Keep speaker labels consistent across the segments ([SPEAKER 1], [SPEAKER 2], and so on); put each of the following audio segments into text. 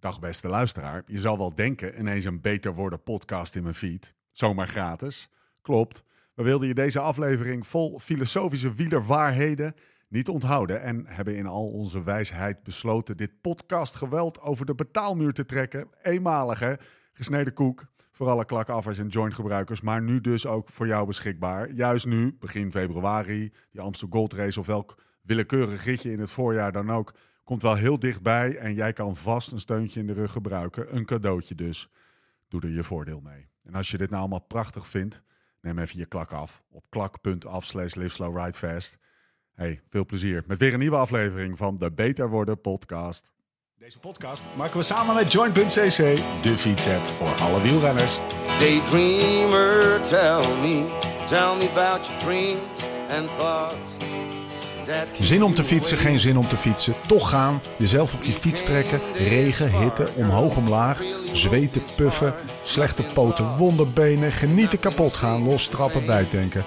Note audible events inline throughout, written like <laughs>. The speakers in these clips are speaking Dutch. [SPEAKER 1] Dag beste luisteraar, je zal wel denken ineens een beter worden podcast in mijn feed. Zomaar gratis. Klopt, we wilden je deze aflevering vol filosofische wielerwaarheden niet onthouden en hebben in al onze wijsheid besloten dit podcastgeweld over de betaalmuur te trekken. Eenmalige, gesneden koek voor alle klakaffers en jointgebruikers, maar nu dus ook voor jou beschikbaar. Juist nu, begin februari, die Amstel Gold Race of welk willekeurig ritje in het voorjaar dan ook, komt wel heel dichtbij en jij kan vast een steuntje in de rug gebruiken. Een cadeautje dus. Doe er je voordeel mee. En als je dit nou allemaal prachtig vindt, neem even je klak af op klak.af slash live slow ride fast. Hey, veel plezier met weer een nieuwe aflevering van de Beter Worden podcast. Deze podcast maken we samen met Join.cc, de fietsapp voor alle wielrenners.
[SPEAKER 2] Daydreamer, tell me, tell me about your dreams and thoughts. that keep
[SPEAKER 3] Zin om te
[SPEAKER 2] you
[SPEAKER 3] fietsen,
[SPEAKER 2] awake.
[SPEAKER 3] geen zin om te fietsen. Toch gaan, jezelf op die fiets trekken. Regen, hitte, omhoog, omlaag. Zweten, puffen, slechte poten, wonderbenen. Genieten, kapot gaan, lostrappen, bijtanken.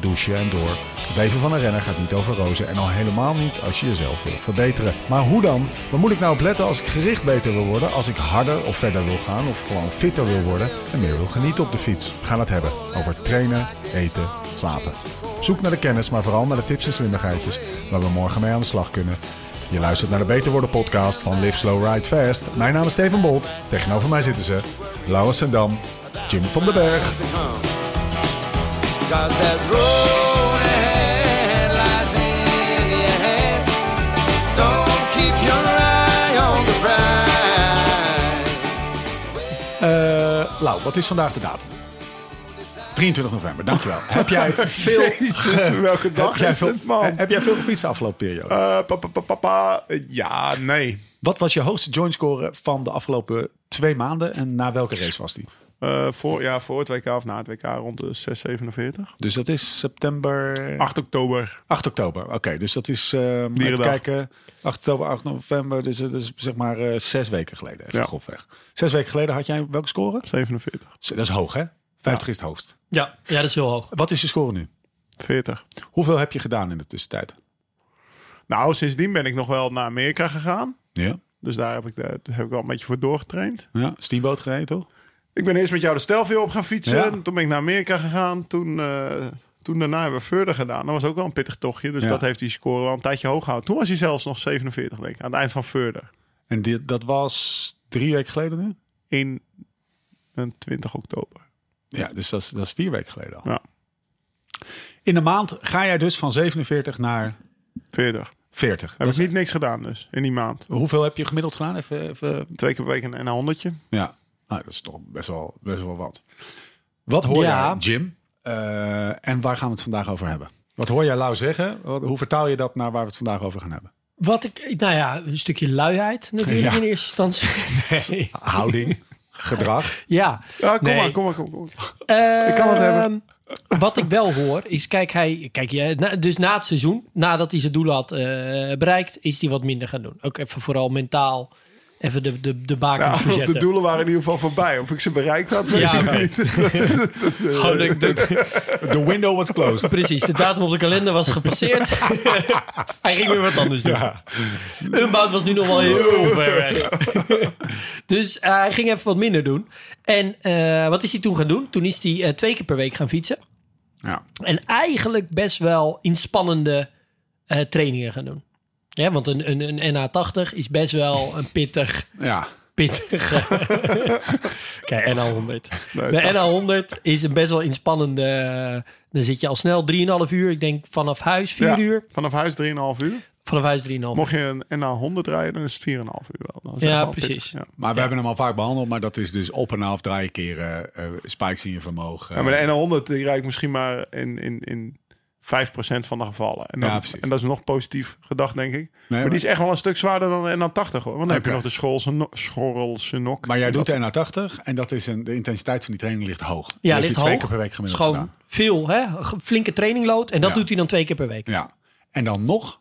[SPEAKER 3] Douchen en door. Het leven van een renner gaat niet over rozen. En al helemaal niet als je jezelf wil verbeteren. Maar hoe dan? Waar moet ik nou op letten als ik gericht beter wil worden? Als ik harder of verder wil gaan? Of gewoon fitter wil worden? En meer wil genieten op de fiets? We gaan het hebben over trainen, eten, slapen. Zoek naar de kennis, maar vooral naar de tips en slimmigheidjes waar we morgen mee aan de slag kunnen. Je luistert naar de Beter Worden podcast van Live Slow Ride Fast. Mijn naam is Steven Bolt. Tegenover mij zitten ze Laurens Sendam, Jim van den Berg.
[SPEAKER 2] Cause that road ahead lies in your hands. Don't keep your eye on the prize.
[SPEAKER 3] Eh Lau, wat is vandaag de datum?
[SPEAKER 1] 23 november, dankjewel.
[SPEAKER 3] Heb jij veel, ge-
[SPEAKER 4] welke dag
[SPEAKER 3] heb jij
[SPEAKER 4] is
[SPEAKER 3] veel,
[SPEAKER 4] het, man?
[SPEAKER 3] Heb jij veel gefietst de afgelopen periode?
[SPEAKER 4] Eh, pa, pa, pa, pa, pa. Eh, Ja, nee.
[SPEAKER 3] Wat was je hoogste jointscore van de afgelopen twee maanden? En na welke race was die?
[SPEAKER 4] Eh, voor, ja, voor het WK of na het WK rond de 647.
[SPEAKER 3] Dus dat is september...
[SPEAKER 4] 8 oktober.
[SPEAKER 3] 8 oktober, oké. dus dat is, eh even
[SPEAKER 4] Dierendag.
[SPEAKER 3] kijken, 8 oktober, 8 november. Dus dat is zeg maar eh, zes weken geleden, even
[SPEAKER 4] Ja.
[SPEAKER 3] grofweg. Zes weken geleden had jij welke score?
[SPEAKER 4] 47.
[SPEAKER 3] Dat is hoog, hè? 50 is het hoogst.
[SPEAKER 5] Ja, ja, dat is heel hoog.
[SPEAKER 3] Wat is je score nu?
[SPEAKER 4] 40.
[SPEAKER 3] Hoeveel heb je gedaan in de tussentijd?
[SPEAKER 4] Nou, sindsdien ben ik nog wel naar Amerika gegaan.
[SPEAKER 3] Ja.
[SPEAKER 4] Dus daar heb ik, de- daar heb ik wel een beetje voor doorgetraind.
[SPEAKER 3] ja. Steamboot gereden, toch?
[SPEAKER 4] Ik ben eerst met jou de Stelvio op gaan fietsen.
[SPEAKER 3] Ja.
[SPEAKER 4] En Toen ben ik naar Amerika gegaan. Toen, eh, toen daarna hebben we verder gedaan. Dat was ook wel een pittig tochtje. Dus
[SPEAKER 3] Ja.
[SPEAKER 4] dat heeft die score wel een tijdje hoog gehouden. Toen was hij zelfs nog 47, denk ik. Aan het eind van verder.
[SPEAKER 3] En die, dat was drie weken geleden nu?
[SPEAKER 4] 21 eh, oktober.
[SPEAKER 3] Ja, dus dat, is- dat is vier weken geleden al.
[SPEAKER 4] Ja,
[SPEAKER 3] In een maand ga jij dus van 47 naar
[SPEAKER 4] 40.
[SPEAKER 3] 40.
[SPEAKER 4] Heb
[SPEAKER 3] Dat
[SPEAKER 4] ik
[SPEAKER 3] is-
[SPEAKER 4] niet niks gedaan dus, in die maand.
[SPEAKER 3] Hoeveel heb je gemiddeld gedaan? Even, even...
[SPEAKER 4] Twee keer per week een, en een honderdje.
[SPEAKER 3] Ja, nou, dat is toch best wel, best wel wat. Wat hoor
[SPEAKER 5] Ja.
[SPEAKER 3] jij, Jim? Eh, en waar gaan we het vandaag over hebben? Wat hoor jij Lau zeggen? Wat- hoe vertaal je dat naar waar we het vandaag over gaan hebben?
[SPEAKER 5] Wat ik, nou ja, een stukje luiheid natuurlijk
[SPEAKER 3] Ja.
[SPEAKER 5] in
[SPEAKER 4] <laughs>
[SPEAKER 5] eerste instantie. Nee.
[SPEAKER 3] <laughs> Houding, gedrag.
[SPEAKER 5] Ja,
[SPEAKER 4] Ja, kom,
[SPEAKER 5] Nee.
[SPEAKER 4] maar, kom maar, kom kom maar.
[SPEAKER 5] ik
[SPEAKER 4] kan het hebben.
[SPEAKER 5] Wat ik wel hoor is, kijk, hij, kijk ja, na- dus na het seizoen, nadat hij zijn doelen had eh, bereikt, is hij wat minder gaan doen. Ook even vooral mentaal even de, de, de baken
[SPEAKER 4] Ja, of <laughs>
[SPEAKER 5] verzetten.
[SPEAKER 4] de doelen waren in ieder geval voorbij. Of ik ze bereikt had, weet
[SPEAKER 5] Ja,
[SPEAKER 4] ik
[SPEAKER 5] oké. <laughs>
[SPEAKER 4] niet. Dat is- dat is-
[SPEAKER 5] Gewoon <laughs> de- de-
[SPEAKER 3] The window was closed.
[SPEAKER 5] precies, de datum op de kalender was <laughs> gepasseerd. hij ging weer wat anders doen. Unbound was nu nog wel heel ver weg. <laughs> dus eh, hij ging even wat minder doen. En eh, wat is hij toen gaan doen? Toen is hij eh, twee keer per week gaan fietsen.
[SPEAKER 3] Ja.
[SPEAKER 5] En eigenlijk best wel inspannende eh, trainingen gaan doen. Ja, want een, een, een NA80 is best wel een pittig,
[SPEAKER 3] ja.
[SPEAKER 5] pittig. <laughs> Kijk, NA100.
[SPEAKER 4] Nee,
[SPEAKER 5] De NA100 is een best wel inspannende. eh, Dan zit je al snel 3,5 uur. Ik denk vanaf huis 4
[SPEAKER 4] Ja,
[SPEAKER 5] uur.
[SPEAKER 4] Vanaf huis 3,5 uur.
[SPEAKER 5] Vanaf huis 3,5 uur.
[SPEAKER 4] Mocht je een NA 100 rijden, dan is het 4,5 uur wel. Dan is het
[SPEAKER 5] Ja,
[SPEAKER 4] wel pittig,
[SPEAKER 5] precies.
[SPEAKER 4] Ja.
[SPEAKER 3] Maar we hebben hem al vaak behandeld, maar dat is dus op en af draaien keren, eh spikes in je vermogen.
[SPEAKER 4] Ja, maar de NA 100 die rijd ik misschien maar in, in, in 5% van de gevallen. En, dan-
[SPEAKER 3] Ja, precies.
[SPEAKER 4] en dat is nog positief gedacht, denk ik. maar,
[SPEAKER 3] maar-
[SPEAKER 4] die is echt wel een stuk zwaarder dan de NA 80 hoor. Want dan heb je
[SPEAKER 3] Oké.
[SPEAKER 4] nog de schorrelse no- schorrelse nok.
[SPEAKER 3] Maar jij
[SPEAKER 4] En
[SPEAKER 3] doet
[SPEAKER 4] dat-
[SPEAKER 3] de NA80 en dat is een, de intensiteit van die training ligt hoog. Die
[SPEAKER 5] Ja,
[SPEAKER 3] heb je
[SPEAKER 5] ligt
[SPEAKER 3] twee
[SPEAKER 5] hoog.
[SPEAKER 3] keer per week gemiddeld
[SPEAKER 5] Schoon
[SPEAKER 3] gedaan.
[SPEAKER 5] veel, hè? Ge- Flinke traininglood. En dat
[SPEAKER 3] Ja.
[SPEAKER 5] doet hij dan twee keer per week.
[SPEAKER 3] Ja. En dan nog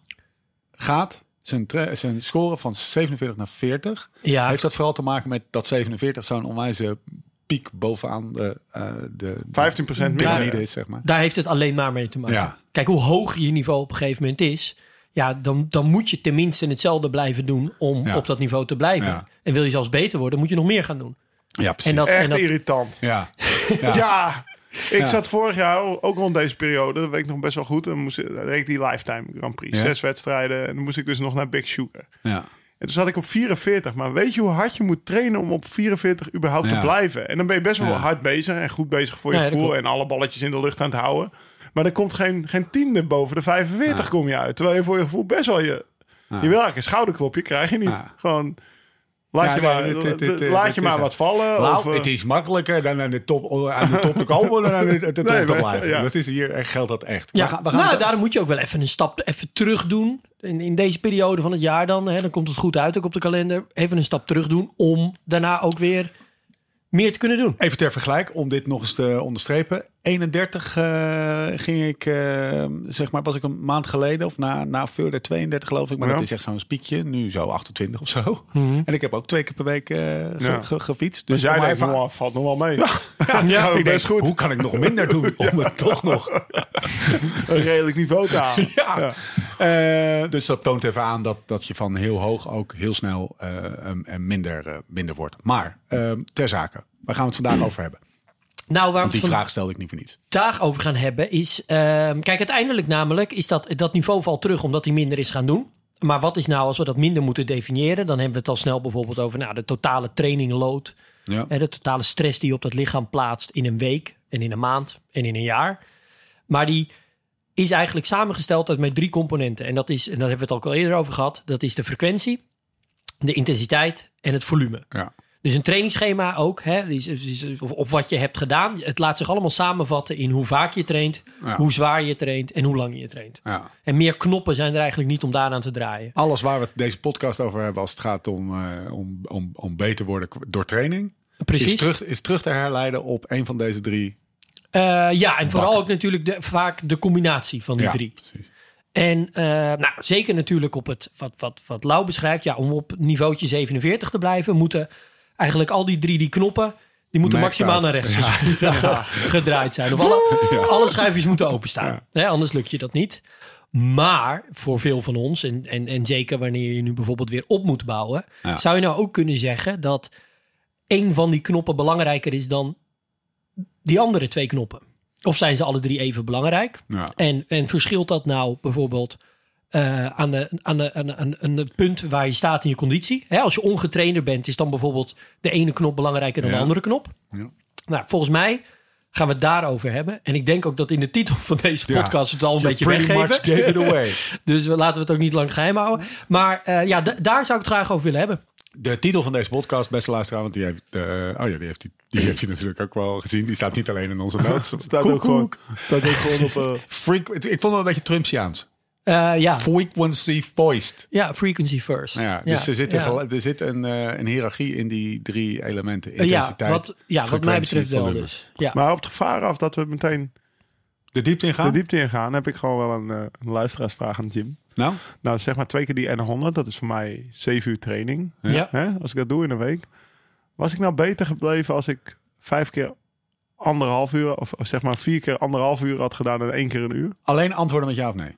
[SPEAKER 3] gaat zijn, tra- zijn score van 47 naar 40.
[SPEAKER 5] Ja.
[SPEAKER 3] Heeft dat vooral te maken met dat 47 zo'n onwijze piek bovenaan de, eh de, de
[SPEAKER 4] 15% minder.
[SPEAKER 3] piramide is, zeg maar.
[SPEAKER 5] Daar heeft het alleen maar mee te maken.
[SPEAKER 3] Ja.
[SPEAKER 5] Kijk, hoe hoog je niveau op een gegeven moment is. Ja, dan, dan moet je tenminste hetzelfde blijven doen om
[SPEAKER 3] Ja.
[SPEAKER 5] op dat niveau te blijven.
[SPEAKER 3] Ja.
[SPEAKER 5] En wil je zelfs beter worden, moet je nog meer gaan doen.
[SPEAKER 3] Ja, precies.
[SPEAKER 5] En dat, en
[SPEAKER 4] Echt
[SPEAKER 5] dat,
[SPEAKER 4] irritant.
[SPEAKER 3] Ja.
[SPEAKER 4] <laughs> Ja. Ik zat vorig jaar ook rond deze periode, dat weet ik nog best wel goed. En dan moest, dan reed ik die Lifetime Grand Prix.
[SPEAKER 3] Ja.
[SPEAKER 4] Zes wedstrijden. En dan moest ik dus nog naar Big Sugar.
[SPEAKER 3] ja.
[SPEAKER 4] En toen zat ik op 44. Maar weet je hoe hard je moet trainen om op 44 überhaupt
[SPEAKER 3] Ja.
[SPEAKER 4] te blijven? En dan ben je best wel
[SPEAKER 3] Ja.
[SPEAKER 4] hard bezig en goed bezig voor je
[SPEAKER 5] Ja, dat
[SPEAKER 4] gevoel.
[SPEAKER 5] klopt.
[SPEAKER 4] En alle balletjes in de lucht aan het houden. Maar er komt geen, geen tiende boven de 45 kom je uit. Terwijl je voor je gevoel best wel je... Je wil eigenlijk een schouderklopje, krijg je niet.
[SPEAKER 3] Ja.
[SPEAKER 4] Gewoon... Laat
[SPEAKER 3] Ja,
[SPEAKER 4] je
[SPEAKER 3] nee,
[SPEAKER 4] maar,
[SPEAKER 3] dit- dit- dit-
[SPEAKER 4] laat
[SPEAKER 3] dit
[SPEAKER 4] je
[SPEAKER 3] is
[SPEAKER 4] maar
[SPEAKER 3] het.
[SPEAKER 4] wat vallen.
[SPEAKER 3] Nou,
[SPEAKER 4] of, eh,
[SPEAKER 3] het is makkelijker dan aan de top, aan de top te komen dan aan de, de top
[SPEAKER 4] Nee,
[SPEAKER 3] te
[SPEAKER 4] maar-
[SPEAKER 3] blijven.
[SPEAKER 4] ja.
[SPEAKER 3] Dat is hier, echt- geldt dat echt.
[SPEAKER 5] ja,
[SPEAKER 3] We gaan, we gaan
[SPEAKER 5] nou, daarom moet je ook wel even een stap even terug doen. In, in deze periode van het jaar dan, hè, dan komt het goed uit ook op de kalender. Even een stap terug doen om daarna ook weer meer te kunnen doen.
[SPEAKER 3] Even ter vergelijk, om dit nog eens te onderstrepen. 31 eh, ging ik, eh, zeg maar, was ik een maand geleden of na, na verder 32 geloof ik. Maar
[SPEAKER 4] Ja. Mhm.
[SPEAKER 3] dat is echt zo'n spiekje, nu zo 28 of zo. En ik heb ook twee keer per week eh, ge-
[SPEAKER 4] Ja.
[SPEAKER 3] ge- gefietst.
[SPEAKER 4] dus jij
[SPEAKER 3] voor mij
[SPEAKER 4] denkt,
[SPEAKER 3] va-
[SPEAKER 4] nou, valt nog wel mee.
[SPEAKER 3] Ja,
[SPEAKER 4] <laughs> ja,
[SPEAKER 3] ik denk,
[SPEAKER 4] best goed.
[SPEAKER 3] hoe kan ik nog minder
[SPEAKER 4] <laughs>
[SPEAKER 3] doen om het toch nog...
[SPEAKER 4] Een redelijk niveau te <laughs> halen.
[SPEAKER 3] Ja. Eh, dus dat toont even aan dat, dat je van heel hoog ook heel snel eh, um, en minder, eh, minder wordt. Maar ehm, ter zake, waar gaan we het vandaag over hebben?
[SPEAKER 5] Nou, waar
[SPEAKER 3] Want
[SPEAKER 5] we
[SPEAKER 3] die
[SPEAKER 5] het
[SPEAKER 3] vraag stelde ik niet voor niets.
[SPEAKER 5] vandaag over gaan hebben is... ehm, kijk, uiteindelijk namelijk is dat dat niveau valt terug omdat hij minder is gaan doen. Maar wat is nou als we dat minder moeten definiëren? Dan hebben we het al snel bijvoorbeeld over nou, de totale trainingload.
[SPEAKER 3] Ja.
[SPEAKER 5] Hè, de totale stress die je op dat lichaam plaatst in een week en in een maand en in een jaar. Maar die is eigenlijk samengesteld uit met drie componenten. En dat is, en daar hebben we het ook al eerder over gehad, dat is de frequentie, de intensiteit en het volume.
[SPEAKER 3] Ja.
[SPEAKER 5] Dus een trainingsschema ook, hè, is- is- is- of, of wat je hebt gedaan. Het laat zich allemaal samenvatten in hoe vaak je traint,
[SPEAKER 3] Ja.
[SPEAKER 5] hoe zwaar je traint en hoe lang je traint.
[SPEAKER 3] Ja.
[SPEAKER 5] En meer knoppen zijn er eigenlijk niet om daaraan te draaien.
[SPEAKER 3] Alles waar we het deze podcast over hebben als het gaat om, eh, om, om, om beter worden k- door training.
[SPEAKER 5] Precies.
[SPEAKER 3] Is terug, is terug te herleiden op een van deze drie.
[SPEAKER 5] Eh, ja, en vooral ook natuurlijk de, vaak de combinatie van die
[SPEAKER 3] Ja,
[SPEAKER 5] drie.
[SPEAKER 3] precies.
[SPEAKER 5] En eh, nou, zeker natuurlijk op het, wat, wat, wat Lau beschrijft, ja, om op niveautje 47 te blijven, moeten eigenlijk al die drie die knoppen, die moeten
[SPEAKER 3] Maxed
[SPEAKER 5] maximaal
[SPEAKER 3] out.
[SPEAKER 5] naar rechts zijn. <laughs> Ja, gedraaid zijn. Of alle, alle schuifjes moeten openstaan. Hè, anders lukt je dat niet. Maar voor veel van ons, en, en, en zeker wanneer je nu bijvoorbeeld weer op moet bouwen,
[SPEAKER 3] Ja.
[SPEAKER 5] zou je nou ook kunnen zeggen dat één van die knoppen belangrijker is dan die andere twee knoppen? Of zijn ze alle drie even belangrijk?
[SPEAKER 3] Ja.
[SPEAKER 5] En, en verschilt dat nou bijvoorbeeld eh, aan, de, aan, de, aan, de- aan, aan het punt waar je staat in je conditie? Hè, als je ongetrainder bent, is dan bijvoorbeeld de ene knop belangrijker dan
[SPEAKER 3] Ja.
[SPEAKER 5] de andere knop?
[SPEAKER 3] Ja.
[SPEAKER 5] Nou, volgens mij gaan we het daarover hebben. En ik denk ook dat in de titel van deze
[SPEAKER 3] Ja.
[SPEAKER 5] podcast het al een
[SPEAKER 3] You
[SPEAKER 5] beetje
[SPEAKER 3] pretty
[SPEAKER 5] weggeven.
[SPEAKER 3] much gave it away.
[SPEAKER 5] <laughs> Dus we- laten we het ook niet lang geheim houden. Maar eh, ja, d- daar zou ik het graag over willen hebben.
[SPEAKER 3] De titel van deze podcast, beste luisteraar, want die heeft, eh, oh ja, die heeft, die, die heeft hij natuurlijk ook wel gezien. Die staat niet alleen in <laughs> onze notes.
[SPEAKER 4] Staat ook, gewoon, staat ook gewoon op... eh,
[SPEAKER 3] Frequ- ik vond het wel een beetje Trumpsiaans.
[SPEAKER 5] Eh, ja.
[SPEAKER 3] Frequency voiced.
[SPEAKER 5] ja, frequency first.
[SPEAKER 3] Ah. Ja, dus Er, zit een,
[SPEAKER 5] ja.
[SPEAKER 3] gel- er zit een, eh, een hiërarchie in die drie elementen.
[SPEAKER 5] Eh, ja,
[SPEAKER 3] Intensiteit,
[SPEAKER 5] wat, ja, wat mij
[SPEAKER 3] frequentie,
[SPEAKER 5] betreft wel
[SPEAKER 3] volume.
[SPEAKER 5] dus. Ja.
[SPEAKER 4] Maar op het gevaar af dat we meteen
[SPEAKER 3] dus. De diepte ingaan?
[SPEAKER 4] de diepte ingaan, heb ik gewoon wel een, eh, een luisteraarsvraag aan Jim.
[SPEAKER 3] Nou,
[SPEAKER 4] Nou, zeg maar twee keer die N100, dat is voor mij zeven uur training.
[SPEAKER 5] Ja.
[SPEAKER 4] Hè? Als ik dat doe in een week. Was ik nou beter gebleven als ik vijf keer anderhalf uur, of, of zeg maar vier keer anderhalf uur had gedaan en één keer een uur?
[SPEAKER 3] alleen antwoorden met ja of nee.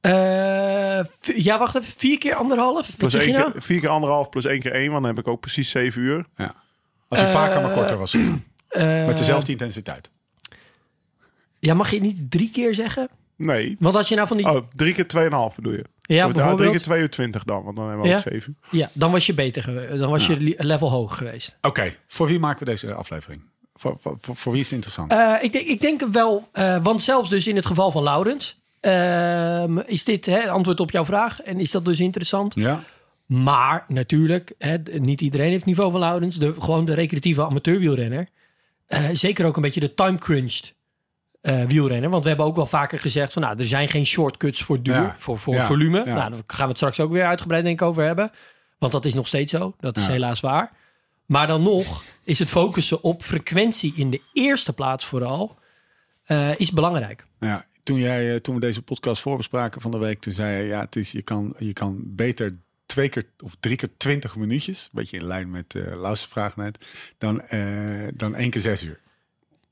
[SPEAKER 5] Eh, v- ja, wacht even. Vier keer anderhalf? Wat
[SPEAKER 4] Plus
[SPEAKER 5] zeg je
[SPEAKER 4] één
[SPEAKER 5] nou?
[SPEAKER 4] keer, vier keer anderhalf plus één keer één, want dan heb ik ook precies zeven uur.
[SPEAKER 3] Ja. Als je vaker maar korter was. <clears throat>
[SPEAKER 5] Eh,
[SPEAKER 3] Met dezelfde intensiteit.
[SPEAKER 5] Ja, mag je het niet drie keer zeggen?
[SPEAKER 4] Nee.
[SPEAKER 5] Want als je nou van die...
[SPEAKER 4] Oh, drie keer tweeënhalf bedoel je?
[SPEAKER 5] ja,
[SPEAKER 4] Nou, drie
[SPEAKER 5] bijvoorbeeld.
[SPEAKER 4] keer twee uur twintig dan, want dan hebben we
[SPEAKER 5] Ja.
[SPEAKER 4] ook zeven.
[SPEAKER 5] Ja, dan was je beter geweest. Dan was je li- level hoog geweest.
[SPEAKER 3] Oké, voor wie maken we deze aflevering? Voor, voor, voor, voor wie is het interessant?
[SPEAKER 5] Eh, ik, denk, ik denk wel, eh, want zelfs dus in het geval van Laurens... ehm, is dit hè, antwoord op jouw vraag? En is dat dus interessant?
[SPEAKER 3] ja.
[SPEAKER 5] Maar natuurlijk, hè, d- niet iedereen heeft het niveau van Laurens. De, gewoon de recreatieve amateurwielrenner. Eh, zeker ook een beetje de time-crunched eh, wielrenner. Want we hebben ook wel vaker gezegd... van, nou, er zijn geen shortcuts voor duur,
[SPEAKER 3] Ja.
[SPEAKER 5] voor, voor
[SPEAKER 3] Ja.
[SPEAKER 5] volume.
[SPEAKER 3] Ja.
[SPEAKER 5] Nou, daar gaan we het straks ook weer uitgebreid denk ik over hebben. Want dat is nog steeds zo. Dat is
[SPEAKER 3] Ja.
[SPEAKER 5] helaas waar. Maar dan nog is het focussen op frequentie in de eerste plaats vooral... eh, is belangrijk.
[SPEAKER 3] Ja, toen, jij, eh, toen we deze podcast voorbespraken van de week, toen zei je, ja, het is, je, kan, je kan beter twee keer of drie keer twintig minuutjes, een beetje in lijn met eh Lauw's vraag net, dan, eh, dan één keer zes uur.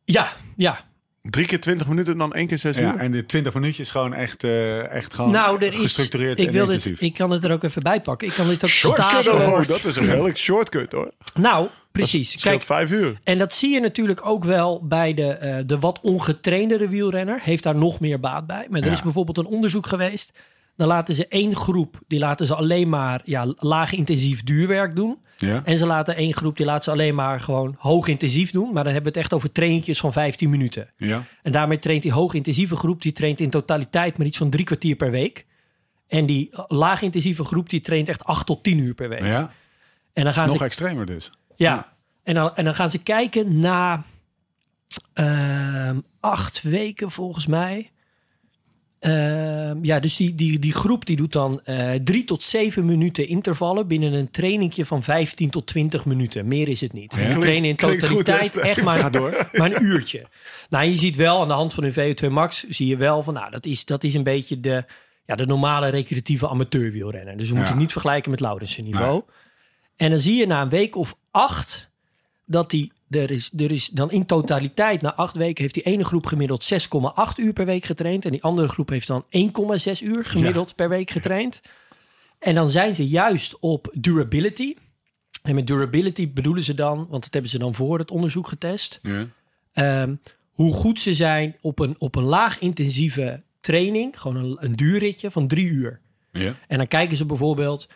[SPEAKER 5] Ja, ja.
[SPEAKER 4] Drie keer 20 minuten en dan één keer zes
[SPEAKER 3] Ja,
[SPEAKER 4] uur.
[SPEAKER 3] en de 20 minuutjes gewoon echt, eh, echt gewoon
[SPEAKER 5] nou, er is,
[SPEAKER 3] gestructureerd
[SPEAKER 5] ik
[SPEAKER 3] en
[SPEAKER 5] wil
[SPEAKER 3] intensief.
[SPEAKER 5] dit, ik kan het er ook even bij pakken. Ik kan dit ook
[SPEAKER 4] Shortcut,
[SPEAKER 5] stapelen.
[SPEAKER 4] oh, dat is een redelijk shortcut hoor.
[SPEAKER 5] Nou, precies.
[SPEAKER 4] Het scheelt
[SPEAKER 5] Kijk,
[SPEAKER 4] vijf uur.
[SPEAKER 5] en dat zie je natuurlijk ook wel bij de, eh, de wat ongetraindere wielrenner. Heeft daar nog meer baat bij. Maar er is bijvoorbeeld een onderzoek geweest. Dan laten ze één groep, die laten ze alleen maar ja, laag intensief duurwerk doen.
[SPEAKER 3] Ja.
[SPEAKER 5] En ze laten één groep, die laten ze alleen maar gewoon hoog intensief doen. Maar dan hebben we het echt over traintjes van 15 minuten.
[SPEAKER 3] Ja.
[SPEAKER 5] En daarmee traint die hoogintensieve groep, die traint in totaliteit maar iets van drie kwartier per week. En die eh, laagintensieve groep, die traint echt acht tot tien uur per week.
[SPEAKER 3] ja,
[SPEAKER 5] En dan gaan
[SPEAKER 3] nog
[SPEAKER 5] ze
[SPEAKER 3] extremer dus.
[SPEAKER 5] ja. En dan, en dan gaan ze kijken na ehm, acht weken volgens mij. Ehm, ja, dus die, die, die groep die doet dan eh, drie tot zeven minuten intervallen binnen een trainingje van 15 tot 20 minuten. Meer is het niet. Die trainen in
[SPEAKER 3] klinkt goed,
[SPEAKER 5] totaliteit
[SPEAKER 3] hè, <laughs>
[SPEAKER 5] echt maar, <laughs> maar een uurtje. Nou, je ziet wel aan de hand van hun VO2 max, zie je wel van nou, dat is, dat is een beetje de, ja, de normale recreatieve amateurwielrenner. Dus we moeten
[SPEAKER 3] Ja.
[SPEAKER 5] het niet vergelijken met Laurensen niveau. En dan zie je na een week of acht dat die, er is, er is dan in totaliteit, na acht weken heeft die ene groep gemiddeld 6,8 uur per week getraind. En die andere groep heeft dan 1,6 uur gemiddeld per week getraind. En dan zijn ze juist op durability. En met durability bedoelen ze dan, want dat hebben ze dan voor het onderzoek getest.
[SPEAKER 3] Ja.
[SPEAKER 5] ehm, hoe goed ze zijn op een, op een laag intensieve training, gewoon een, een duurritje van drie uur.
[SPEAKER 3] Ja.
[SPEAKER 5] En dan kijken ze bijvoorbeeld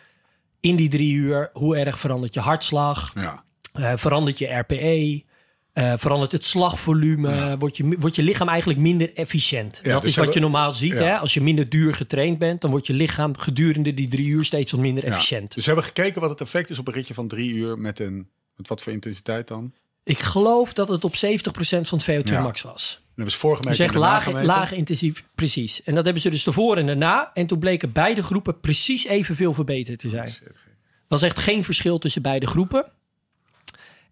[SPEAKER 5] in die drie uur hoe erg verandert je hartslag,
[SPEAKER 3] Ja.
[SPEAKER 5] eh, verandert je RPE, eh, verandert het slagvolume, wordt, je, wordt je lichaam eigenlijk minder efficiënt. dat
[SPEAKER 3] dus
[SPEAKER 5] is
[SPEAKER 3] ze
[SPEAKER 5] wat je
[SPEAKER 3] hebben-
[SPEAKER 5] normaal ziet.
[SPEAKER 3] ja.
[SPEAKER 5] Hè? Als je minder duur getraind bent, dan wordt je lichaam gedurende die drie uur steeds wat minder efficiënt.
[SPEAKER 3] Dus we hebben gekeken wat het effect is op een ritje van drie uur met een... Met wat voor intensiteit dan? En
[SPEAKER 5] Ik geloof dat het op 70% van het VO2
[SPEAKER 3] Ja.
[SPEAKER 5] max was.
[SPEAKER 3] dat hebben ze vorige
[SPEAKER 5] Dus
[SPEAKER 3] week
[SPEAKER 5] echt
[SPEAKER 3] in de naam
[SPEAKER 5] laag,
[SPEAKER 3] gemeten.
[SPEAKER 5] laag intensief, precies. En dat hebben ze dus ervoor en daarna. En toen bleken beide groepen precies evenveel verbeterd te zijn. was echt geen verschil tussen beide groepen.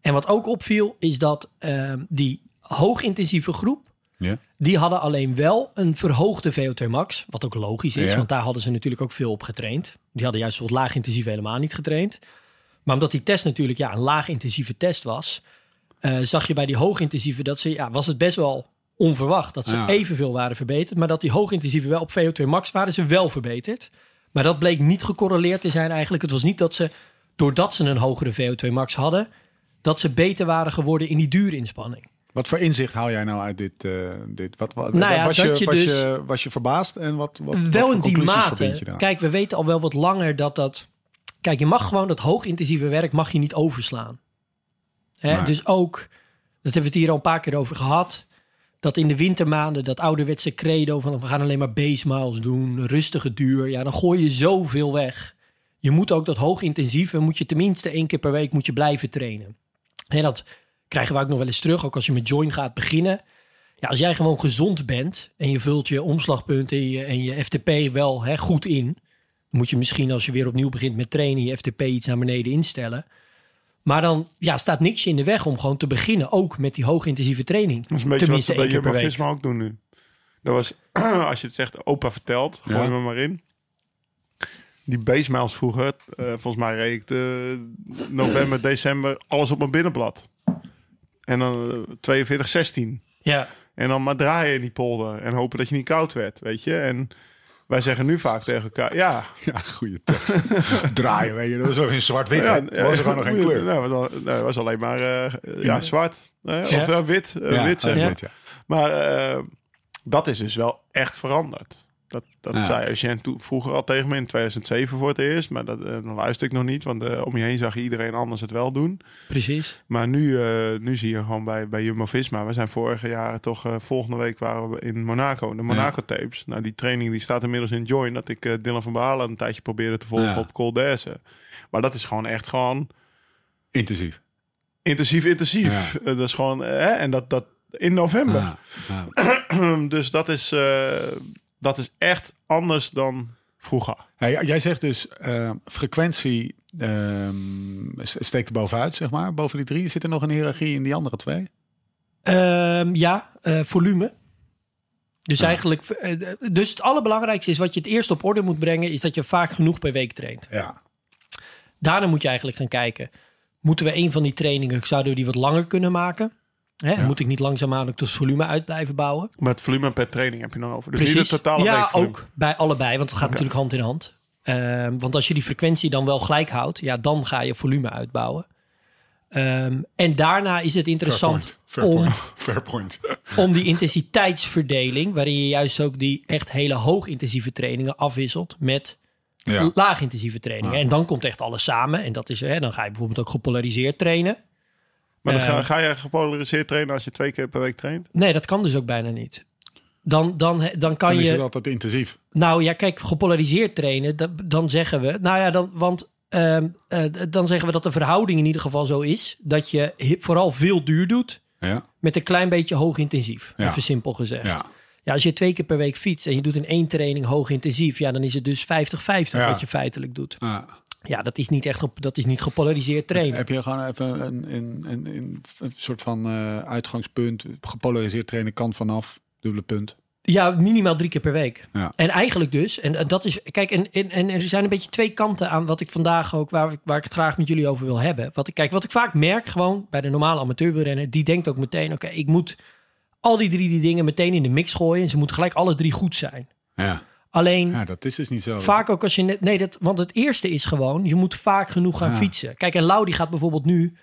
[SPEAKER 5] En wat ook opviel is dat ehm, die hoogintensieve groep...
[SPEAKER 3] Ja.
[SPEAKER 5] die hadden alleen wel een verhoogde VO2 max. Wat ook logisch is,
[SPEAKER 3] Ja.
[SPEAKER 5] want daar hadden ze natuurlijk ook veel op getraind. Die hadden juist wat laag intensief helemaal niet getraind. Maar omdat die test natuurlijk ja, een laag intensieve test was... eh, zag je bij die hoogintensieve dat ze... Ja, was het best wel onverwacht dat ze
[SPEAKER 3] Ja.
[SPEAKER 5] evenveel waren verbeterd... maar dat die hoogintensieve wel op VO2 max waren ze wel verbeterd. Maar dat bleek niet gecorreleerd te zijn eigenlijk. Het was niet dat ze, doordat ze een hogere VO2 max hadden... dat ze beter waren geworden in die duurinspanning.
[SPEAKER 3] Wat voor inzicht haal jij nou uit dit? eh, dit? Wat, wat,
[SPEAKER 5] Nou ja,
[SPEAKER 3] was, je,
[SPEAKER 5] dat je
[SPEAKER 3] was,
[SPEAKER 5] dus-
[SPEAKER 3] je, was je verbaasd en wat, wat wat
[SPEAKER 5] wel
[SPEAKER 3] voor
[SPEAKER 5] in die
[SPEAKER 3] conclusies verbind je
[SPEAKER 5] mate.
[SPEAKER 3] daar?
[SPEAKER 5] Kijk, we weten al wel wat langer dat dat. Kijk, je mag gewoon dat hoogintensieve werk mag je niet overslaan. Hè?
[SPEAKER 3] Nee.
[SPEAKER 5] Dus ook, dat hebben we het hier al een paar keer over gehad. Dat in de wintermaanden dat ouderwetse credo van we gaan alleen maar base miles doen, rustige duur. Ja, dan gooi je zoveel weg. Je moet ook dat hoogintensieve, moet je tenminste één keer per week moet je blijven trainen. Hè, dat krijgen we ook nog wel eens terug, ook als je met join gaat beginnen. Ja, als jij gewoon gezond bent en je vult je omslagpunten en je, en je FTP wel hè, goed in, dan moet je misschien als je weer opnieuw begint met trainen je FTP iets naar beneden instellen. Maar dan ja, staat niks in de weg om gewoon te beginnen, ook met die hoogintensieve training.
[SPEAKER 4] Dat is een beetje
[SPEAKER 5] Tenminste
[SPEAKER 4] wat
[SPEAKER 5] één
[SPEAKER 4] ze bij
[SPEAKER 5] keer per
[SPEAKER 4] Jumbo Visma
[SPEAKER 5] week.
[SPEAKER 4] ook doen nu. Dat was, <clears throat> als je het zegt, opa vertelt, gooi
[SPEAKER 3] Ja.
[SPEAKER 4] me maar in. Die base miles vroeger, eh, volgens mij reed ik de november, december alles op mijn binnenblad. En dan eh, 42, 16.
[SPEAKER 5] Ja,
[SPEAKER 4] En dan maar draaien in die polder en hopen dat je niet koud werd, weet je. En wij zeggen nu vaak tegen elkaar, ja,
[SPEAKER 3] <laughs> Ja, goede tekst. <laughs> Draaien, weet je. Dat was ook in zwart-wit.
[SPEAKER 4] Ja,
[SPEAKER 3] hè? was er gewoon nog geen kleur.
[SPEAKER 4] Nee, maar dan- nee, het was alleen maar eh, eh, ja, zwart. Eh, Of
[SPEAKER 5] Ja.
[SPEAKER 4] eh, wit. eh, wit zeg
[SPEAKER 3] ja.
[SPEAKER 4] maar.
[SPEAKER 3] wit, ja.
[SPEAKER 4] Maar eh, dat is dus wel echt veranderd. Dat, dat
[SPEAKER 3] Ja.
[SPEAKER 4] zei Eugène toen vroeger al tegen me in 2007 voor het eerst. Maar dat, eh, dan luister ik nog niet, want eh, om je heen zag je iedereen anders het wel doen.
[SPEAKER 5] precies.
[SPEAKER 4] Maar nu, eh, nu zie je gewoon bij, bij Jumbo-Visma. We zijn vorige jaren toch... eh, volgende week waren we in Monaco, de Monaco-tapes. Nou, die training die staat inmiddels in Join. Dat ik eh, Dylan van Baarle een tijdje probeerde te volgen
[SPEAKER 3] Ja.
[SPEAKER 4] op Col d'Azur. Maar dat is gewoon echt gewoon
[SPEAKER 3] Intensief.
[SPEAKER 4] intensief, intensief. Eh, dat is gewoon... eh, hè, en dat, dat in november.
[SPEAKER 3] Ja. Ja.
[SPEAKER 4] <laughs> Dus dat is, eh, dat is echt anders dan vroeger.
[SPEAKER 3] Hey, jij zegt dus eh, frequentie ehm, s- steekt er bovenuit, zeg maar. Boven die drie. Zit er nog een hiërarchie in die andere twee?
[SPEAKER 5] Ehm, ja, eh, volume. Dus eigenlijk, eh, dus het allerbelangrijkste is wat je het eerst op orde moet brengen, is dat je vaak genoeg per week traint.
[SPEAKER 3] Ja.
[SPEAKER 5] Daarna moet je eigenlijk gaan kijken. Moeten we een van die trainingen, zouden we die wat langer kunnen maken? Hè? Moet ik niet langzaamaan ook het volume uit blijven bouwen?
[SPEAKER 4] Maar het volume per training heb je dan over. Dus niet het totale
[SPEAKER 5] ja,
[SPEAKER 4] weekvolume.
[SPEAKER 5] ook bij allebei, want het gaat natuurlijk hand in hand. Ehm, want als je die frequentie dan wel gelijk houdt, ja, dan ga je volume uitbouwen. Ehm, en daarna is het interessant
[SPEAKER 3] Fair
[SPEAKER 5] om,
[SPEAKER 3] point. <laughs> Fair point.
[SPEAKER 5] om die intensiteitsverdeling, waarin je juist ook die echt hele hoogintensieve trainingen afwisselt met
[SPEAKER 6] Ja.
[SPEAKER 5] laag intensieve trainingen. En dan komt echt alles samen. En dat is, hè, dan ga je bijvoorbeeld ook gepolariseerd trainen.
[SPEAKER 4] Maar dan ga, ga je gepolariseerd trainen als je twee keer per week traint?
[SPEAKER 5] Nee, dat kan dus ook bijna niet. Dan, dan, dan kan
[SPEAKER 3] Dan is
[SPEAKER 5] je.
[SPEAKER 3] het altijd intensief.
[SPEAKER 5] Nou ja, kijk, gepolariseerd trainen, da- dan zeggen we. Nou ja, dan, want ehm, eh, d- dan zeggen we dat de verhouding in ieder geval zo is. Dat je hi- vooral veel duur doet
[SPEAKER 3] Ja.
[SPEAKER 5] met een klein beetje hoog intensief.
[SPEAKER 3] Ja.
[SPEAKER 5] Even simpel gezegd.
[SPEAKER 3] Ja.
[SPEAKER 5] Ja. als je twee keer per week fietst en je doet in één training hoog intensief, ja, dan is het dus 50-50
[SPEAKER 3] Ja.
[SPEAKER 5] wat je feitelijk doet.
[SPEAKER 3] Ah.
[SPEAKER 5] Ja, dat is niet echt op, dat is niet gepolariseerd trainen.
[SPEAKER 3] Heb je gewoon even een, een, een, een, een soort van eh, uitgangspunt? Gepolariseerd trainen kan vanaf, dubbele punt.
[SPEAKER 5] Ja, minimaal drie keer per week.
[SPEAKER 3] Ja.
[SPEAKER 5] En eigenlijk dus, en eh, dat is, kijk, en, en, en er zijn een beetje twee kanten aan wat ik vandaag ook, waar, ik- waar ik het graag met jullie over wil hebben. Wat ik, kijk, wat ik vaak merk gewoon bij de normale amateurwielrenner, die denkt ook meteen, oké, ik moet al die drie die dingen meteen in de mix gooien en ze moeten gelijk alle drie goed zijn.
[SPEAKER 3] Ja.
[SPEAKER 5] Alleen
[SPEAKER 3] ja, dat is dus niet zo.
[SPEAKER 5] vaak ook als je net, nee, dat, want het eerste is gewoon, je moet vaak genoeg gaan fietsen. Kijk, en Lau die gaat bijvoorbeeld nu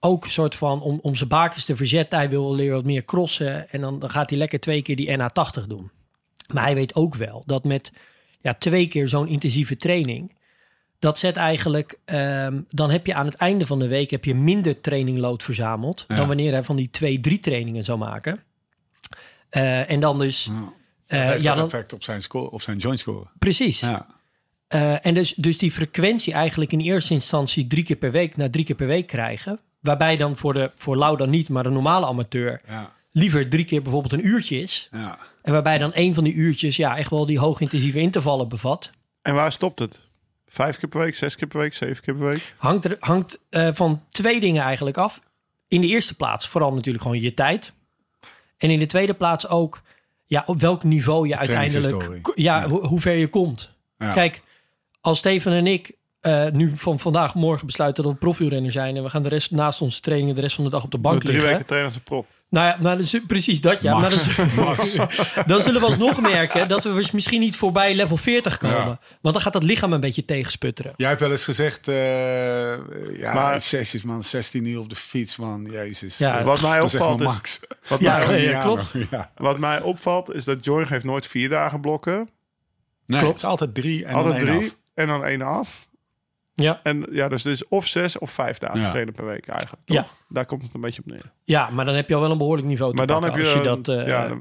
[SPEAKER 5] ook een soort van, om, om zijn bakens te verzetten, hij wil weer wat meer crossen en dan, dan gaat hij lekker twee keer die NH80 doen. Maar hij weet ook wel dat met ja, twee keer zo'n intensieve training, dat zet eigenlijk, ehm, dan heb je aan het einde van de week heb je minder traininglood verzameld dan wanneer hij van die twee, drie trainingen zou maken. Eh, en dan dus, eh,
[SPEAKER 3] heeft
[SPEAKER 5] ja,
[SPEAKER 3] dat
[SPEAKER 5] dan,
[SPEAKER 3] effect op zijn, score, op zijn joint score.
[SPEAKER 5] precies.
[SPEAKER 3] Ja.
[SPEAKER 5] Eh, en dus, dus die frequentie eigenlijk in eerste instantie drie keer per week naar drie keer per week krijgen. Waarbij dan voor, de, voor Lau dan niet, maar de normale amateur
[SPEAKER 3] Ja.
[SPEAKER 5] liever drie keer bijvoorbeeld een uurtje
[SPEAKER 3] <laughs>
[SPEAKER 5] is.
[SPEAKER 3] Ja.
[SPEAKER 5] En waarbij dan één van die uurtjes ja, echt wel die hoogintensieve intervallen bevat.
[SPEAKER 4] En waar stopt het? Vijf keer per week, zes keer per week, zeven keer per week?
[SPEAKER 5] Hangt, er, hangt eh, van twee dingen eigenlijk af. In de eerste plaats vooral natuurlijk gewoon je tijd. En in de tweede plaats ook ja, op welk niveau je uiteindelijk...
[SPEAKER 3] trainingshistorie.
[SPEAKER 5] Ja, ho- hoe ver je komt.
[SPEAKER 3] Ja.
[SPEAKER 5] Kijk, als Steven en ik eh, nu van vandaag morgen besluiten dat we profielrenner zijn... en we gaan de rest naast onze trainingen de rest van de dag op de bank
[SPEAKER 4] Drie
[SPEAKER 5] liggen...
[SPEAKER 4] weken trainen als een prop.
[SPEAKER 5] Nou ja, maar dus, precies dat ja. Maar dan, dan zullen we alsnog merken dat we dus misschien niet voorbij level 40 komen.
[SPEAKER 3] Ja.
[SPEAKER 5] Want dan gaat dat lichaam een beetje tegensputteren.
[SPEAKER 3] Jij hebt wel eens gezegd, eh, ja,
[SPEAKER 4] Maar-
[SPEAKER 3] sessies man, 16 uur op de fiets man, jezus.
[SPEAKER 5] Ja.
[SPEAKER 4] Wat mij
[SPEAKER 3] Dat is echt
[SPEAKER 4] opvalt
[SPEAKER 3] wel
[SPEAKER 4] is...
[SPEAKER 3] max.
[SPEAKER 4] Wat,
[SPEAKER 5] Ja,
[SPEAKER 4] mij,
[SPEAKER 5] nee,
[SPEAKER 3] Ja,
[SPEAKER 5] ja, klopt.
[SPEAKER 3] Ja.
[SPEAKER 4] wat mij opvalt is dat Joy geeft nooit vier dagen blokken.
[SPEAKER 3] Nee,
[SPEAKER 5] Klopt.
[SPEAKER 3] het is altijd drie en
[SPEAKER 4] altijd
[SPEAKER 3] dan één
[SPEAKER 4] drie
[SPEAKER 3] af.
[SPEAKER 4] en dan één af.
[SPEAKER 5] Ja.
[SPEAKER 4] En ja, dus het is of zes of vijf dagen
[SPEAKER 3] Ja.
[SPEAKER 4] trainen per week eigenlijk.
[SPEAKER 5] Ja.
[SPEAKER 4] toch? Daar komt het een beetje op neer.
[SPEAKER 5] ja, maar dan heb je al wel een behoorlijk niveau te
[SPEAKER 4] Maar dan heb
[SPEAKER 5] pakken
[SPEAKER 4] je...
[SPEAKER 5] als je
[SPEAKER 4] een-
[SPEAKER 5] dat... eh,
[SPEAKER 4] ja, dan-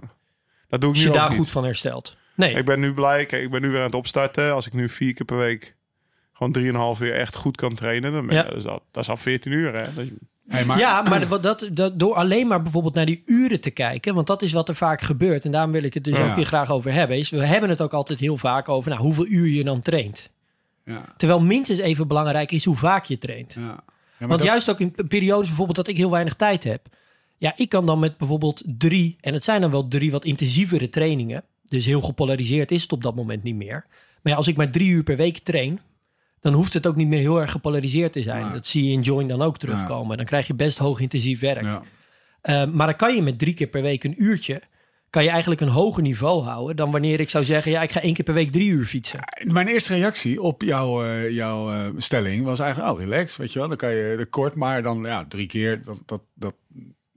[SPEAKER 4] dat doe ik
[SPEAKER 5] Als
[SPEAKER 4] nu
[SPEAKER 5] je
[SPEAKER 4] ook
[SPEAKER 5] daar
[SPEAKER 4] niet.
[SPEAKER 5] goed van herstelt. Nee,
[SPEAKER 4] Ik ben nu blij. Kijk, ik ben nu weer aan het opstarten. Als ik nu vier keer per week gewoon 3,5 uur echt goed kan trainen, dan ben
[SPEAKER 5] Ja.
[SPEAKER 4] ja. dus dat, dat is al 14 uur. Hè? Dat is-
[SPEAKER 3] Hey, maar,
[SPEAKER 5] ja, maar wat dat, dat, door alleen maar bijvoorbeeld naar die uren te kijken, want dat is wat er vaak gebeurt. En daarom wil ik het dus
[SPEAKER 3] Ja.
[SPEAKER 5] ook hier graag over hebben. Is we hebben het ook altijd heel vaak over nou, hoeveel uur je dan traint.
[SPEAKER 3] Ja.
[SPEAKER 5] Terwijl minstens even belangrijk is hoe vaak je traint.
[SPEAKER 3] Ja. Ja, maar
[SPEAKER 5] want
[SPEAKER 3] dat-
[SPEAKER 5] juist ook in p- periodes bijvoorbeeld dat ik heel weinig tijd heb. Ja, ik kan dan met bijvoorbeeld drie, en het zijn dan wel drie wat intensievere trainingen. Dus heel gepolariseerd is het op dat moment niet meer. Maar ja, als ik maar drie uur per week train, dan hoeft het ook niet meer heel erg gepolariseerd te zijn.
[SPEAKER 3] Ja.
[SPEAKER 5] Dat zie je in Join dan ook terugkomen. Dan krijg je best hoog intensief werk.
[SPEAKER 3] Ja.
[SPEAKER 5] Eh, maar dan kan je met drie keer per week een uurtje, kan je eigenlijk een hoger niveau houden dan wanneer ik zou zeggen, ja, ik ga één keer per week drie uur fietsen.
[SPEAKER 3] Mijn eerste reactie op jouw, eh, jouw eh, stelling was eigenlijk, oh, relax, weet je wel. Dan kan je er kort, maar dan ja, drie keer. Dat, dat, dat,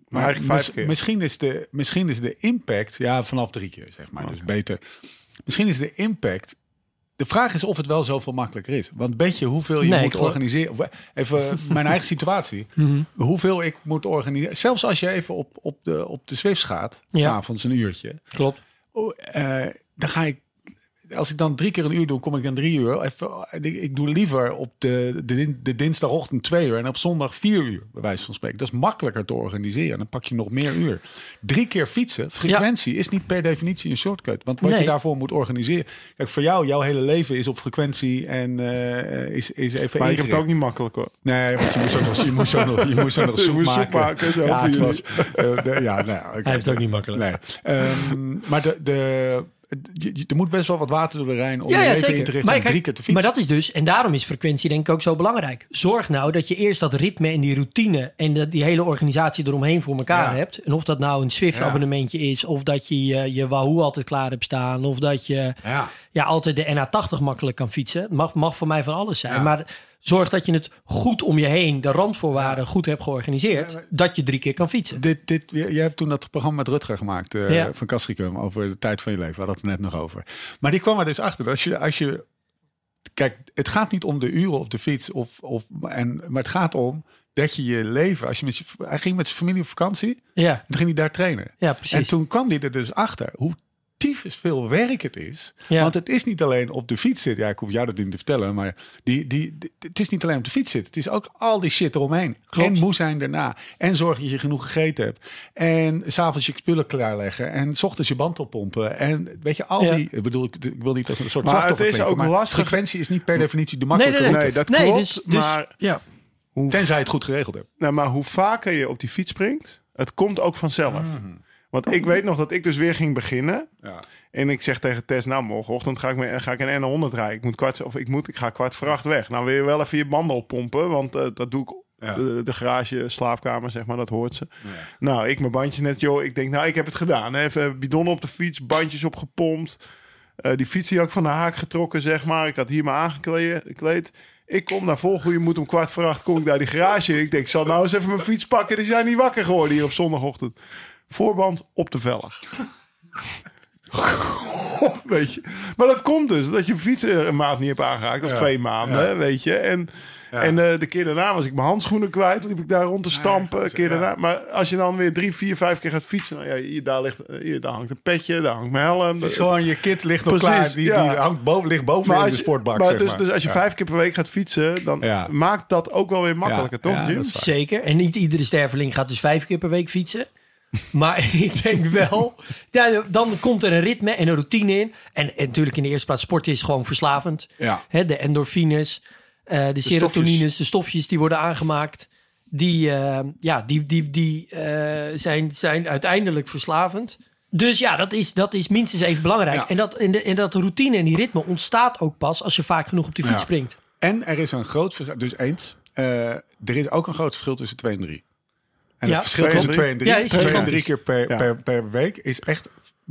[SPEAKER 3] maar
[SPEAKER 4] eigenlijk vijf keer.
[SPEAKER 3] Misschien is, de, misschien is de impact, ja, vanaf drie keer, zeg maar. Dus beter. Misschien is de impact... De vraag is of het wel zoveel makkelijker is. Want weet je hoeveel je
[SPEAKER 5] Nee, ik Mhm.
[SPEAKER 3] moet
[SPEAKER 5] geloof-
[SPEAKER 3] organiseren? Of, eh, Even
[SPEAKER 5] <laughs>
[SPEAKER 3] mijn eigen situatie. Hoeveel ik moet organiseren. Zelfs als je even op, op de, op de Zwift gaat,
[SPEAKER 5] Ja.
[SPEAKER 3] s'avonds een uurtje.
[SPEAKER 5] Klopt.
[SPEAKER 3] Oh, eh, dan ga ik. Als ik dan drie keer een uur doe, kom ik dan drie uur. Even, ik, ik doe liever op de, de, din- de dinsdagochtend twee uur en op zondag vier uur, bij wijze van spreken. Dat is makkelijker te organiseren. Dan pak je nog meer uur. Drie keer fietsen, frequentie is niet per definitie een shortcut. Want wat je
[SPEAKER 5] Nee.
[SPEAKER 3] daarvoor moet organiseren. Kijk, voor jou, jouw hele leven is op frequentie en eh, is, is even.
[SPEAKER 4] Maar ik heb
[SPEAKER 3] ingericht.
[SPEAKER 4] het ook niet makkelijk hoor.
[SPEAKER 3] Nee, want je moest ook nog, je moest ook nog, je moest ook nog
[SPEAKER 4] Je
[SPEAKER 3] soep
[SPEAKER 4] moest
[SPEAKER 3] maken.
[SPEAKER 4] soep maken, zo,
[SPEAKER 3] ja,
[SPEAKER 4] voor
[SPEAKER 3] het
[SPEAKER 4] jullie.
[SPEAKER 3] was, eh, de- ja, nou, oké.
[SPEAKER 5] Hij heeft het ook niet makkelijk.
[SPEAKER 3] Nee. Ehm, maar de, de, je- je- er moet best wel wat water door de Rijn om
[SPEAKER 5] Ja,
[SPEAKER 3] je
[SPEAKER 5] ja,
[SPEAKER 3] leven
[SPEAKER 5] zeker.
[SPEAKER 3] in te richten
[SPEAKER 5] maar,
[SPEAKER 3] en
[SPEAKER 5] kijk,
[SPEAKER 3] drie keer te fietsen.
[SPEAKER 5] maar dat is dus, en daarom is frequentie denk ik ook zo belangrijk. Zorg nou dat je eerst dat ritme en die routine en dat die hele organisatie eromheen voor elkaar
[SPEAKER 3] Ja.
[SPEAKER 5] hebt. En of dat nou een Swift-abonnementje is, of dat je eh, je Wahoo altijd klaar hebt staan, of dat je
[SPEAKER 3] Ja.
[SPEAKER 5] ja, altijd de NA80 makkelijk kan fietsen. Het Mag, mag voor mij van alles zijn.
[SPEAKER 3] Ja.
[SPEAKER 5] Maar zorg dat je het goed om je heen, de randvoorwaarden goed hebt georganiseerd, dat je drie keer kan fietsen.
[SPEAKER 3] Dit, dit, jij jij hebt toen dat programma met Rutger gemaakt eh,
[SPEAKER 5] Ja.
[SPEAKER 3] van Castricum over de tijd van je leven. We hadden het er net nog over. Maar die kwam er dus achter. dat Als je, als je, kijk, het gaat niet om de uren op de fiets. Of, of, en, maar het gaat om dat je je leven... Als je met je, hij ging met zijn familie op vakantie en
[SPEAKER 5] Ja,
[SPEAKER 3] toen ging hij daar trainen.
[SPEAKER 5] ja precies.
[SPEAKER 3] En toen kwam hij er dus achter hoe tyfus veel werk het is.
[SPEAKER 5] Ja.
[SPEAKER 3] Want het is niet alleen op de fiets zitten. Ja, ik hoef jou dat niet te vertellen. Maar die, die, die- het is niet alleen op de fiets zitten. Het is ook al die shit eromheen.
[SPEAKER 5] Klopt.
[SPEAKER 3] En moe zijn daarna. En zorg dat je genoeg gegeten hebt. En s'avonds je spullen klaarleggen. En s ochtends je band oppompen. En weet je, al
[SPEAKER 5] Ja.
[SPEAKER 3] die... Ik bedoel, ik, ik wil niet als een soort
[SPEAKER 4] Maar het
[SPEAKER 3] slachtoffer
[SPEAKER 4] is
[SPEAKER 3] klinken,
[SPEAKER 4] ook
[SPEAKER 3] maar
[SPEAKER 4] lastig.
[SPEAKER 3] Frequentie is niet per definitie de makkelijke route.
[SPEAKER 4] Nee, dat klopt, maar-
[SPEAKER 5] dus- ja.
[SPEAKER 4] Hoe
[SPEAKER 3] Tenzij je het goed geregeld hebt.
[SPEAKER 4] Nou, maar hoe vaker je op die fiets springt, het komt ook vanzelf. Want ik weet nog dat ik dus weer ging beginnen.
[SPEAKER 3] Ja.
[SPEAKER 4] En ik zeg tegen Tess, nou, morgenochtend ga ik, me, ga ik een N100 rijden. Ik moet kwart, of ik moet, ik ga kwart voor acht weg. Nou, wil je wel even je banden oppompen, want eh, dat doe ik
[SPEAKER 3] Ja.
[SPEAKER 4] de, de garage, slaapkamer, zeg maar, dat hoort ze. Nou, ik mijn bandje net, joh. Ik denk, nou, ik heb het gedaan. hè. Even bidonnen op de fiets, bandjes opgepompt. Eh, die fiets die had ik van de haak getrokken, zeg maar. Ik had hier me aangekleed. Ik kom naar volgoede moet om kwart voor acht kom ik naar die garage. En ik denk, ik zal nou eens even mijn fiets pakken. Die zijn niet wakker geworden hier op zondagochtend. Voorband op de velg. weet je. Maar dat komt dus, dat je fiets eh, een maand niet hebt aangeraakt. Of twee maanden, weet je. En, en eh, de keer daarna was ik mijn handschoenen kwijt. Liep ik daar rond te stampen.
[SPEAKER 3] goed,
[SPEAKER 4] keer
[SPEAKER 3] ja.
[SPEAKER 4] daarna. Maar als je dan weer drie, vier, vijf keer gaat fietsen. Nou, ja, hier, daar, ligt, hier, daar hangt een petje, daar hangt mijn helm.
[SPEAKER 3] Het is gewoon, je kind ligt nog
[SPEAKER 4] Precies,
[SPEAKER 3] klaar. Die,
[SPEAKER 4] ja.
[SPEAKER 3] die hangt boven, ligt boven in de
[SPEAKER 4] je-
[SPEAKER 3] sportbak,
[SPEAKER 4] maar
[SPEAKER 3] zeg
[SPEAKER 4] dus,
[SPEAKER 3] maar.
[SPEAKER 4] dus als je
[SPEAKER 3] Ja.
[SPEAKER 4] vijf keer per week gaat fietsen, dan
[SPEAKER 3] Ja.
[SPEAKER 4] maakt dat ook wel weer makkelijker,
[SPEAKER 3] Ja,
[SPEAKER 4] toch,
[SPEAKER 3] ja,
[SPEAKER 4] Jim?
[SPEAKER 3] dat is waar.
[SPEAKER 5] Zeker. En niet iedere sterveling gaat dus vijf keer per week fietsen. Maar <laughs> ik denk wel, ja, dan komt er een ritme en een routine in. En, en natuurlijk in de eerste plaats, sport is gewoon verslavend.
[SPEAKER 3] Ja.
[SPEAKER 5] Hè, de endorfines, eh, de, serotonines, de stofjes die worden aangemaakt. Die, eh, ja, die, die, die eh, zijn, zijn uiteindelijk verslavend. Dus ja, dat is, dat is minstens even belangrijk.
[SPEAKER 3] Ja.
[SPEAKER 5] En, dat, en, de, en dat routine en die ritme ontstaat ook pas als je vaak genoeg op die fiets
[SPEAKER 3] Ja.
[SPEAKER 5] springt.
[SPEAKER 3] En er is een groot verschil. Dus eens, eh, er is ook een groot verschil tussen 2 en 3. En
[SPEAKER 5] Ja.
[SPEAKER 3] het verschil
[SPEAKER 4] Twee en
[SPEAKER 3] tussen
[SPEAKER 4] drie.
[SPEAKER 3] 2 en 3,
[SPEAKER 5] Ja, is
[SPEAKER 3] en
[SPEAKER 5] gigantisch.
[SPEAKER 3] drie keer per,
[SPEAKER 4] Ja.
[SPEAKER 3] per, per week is echt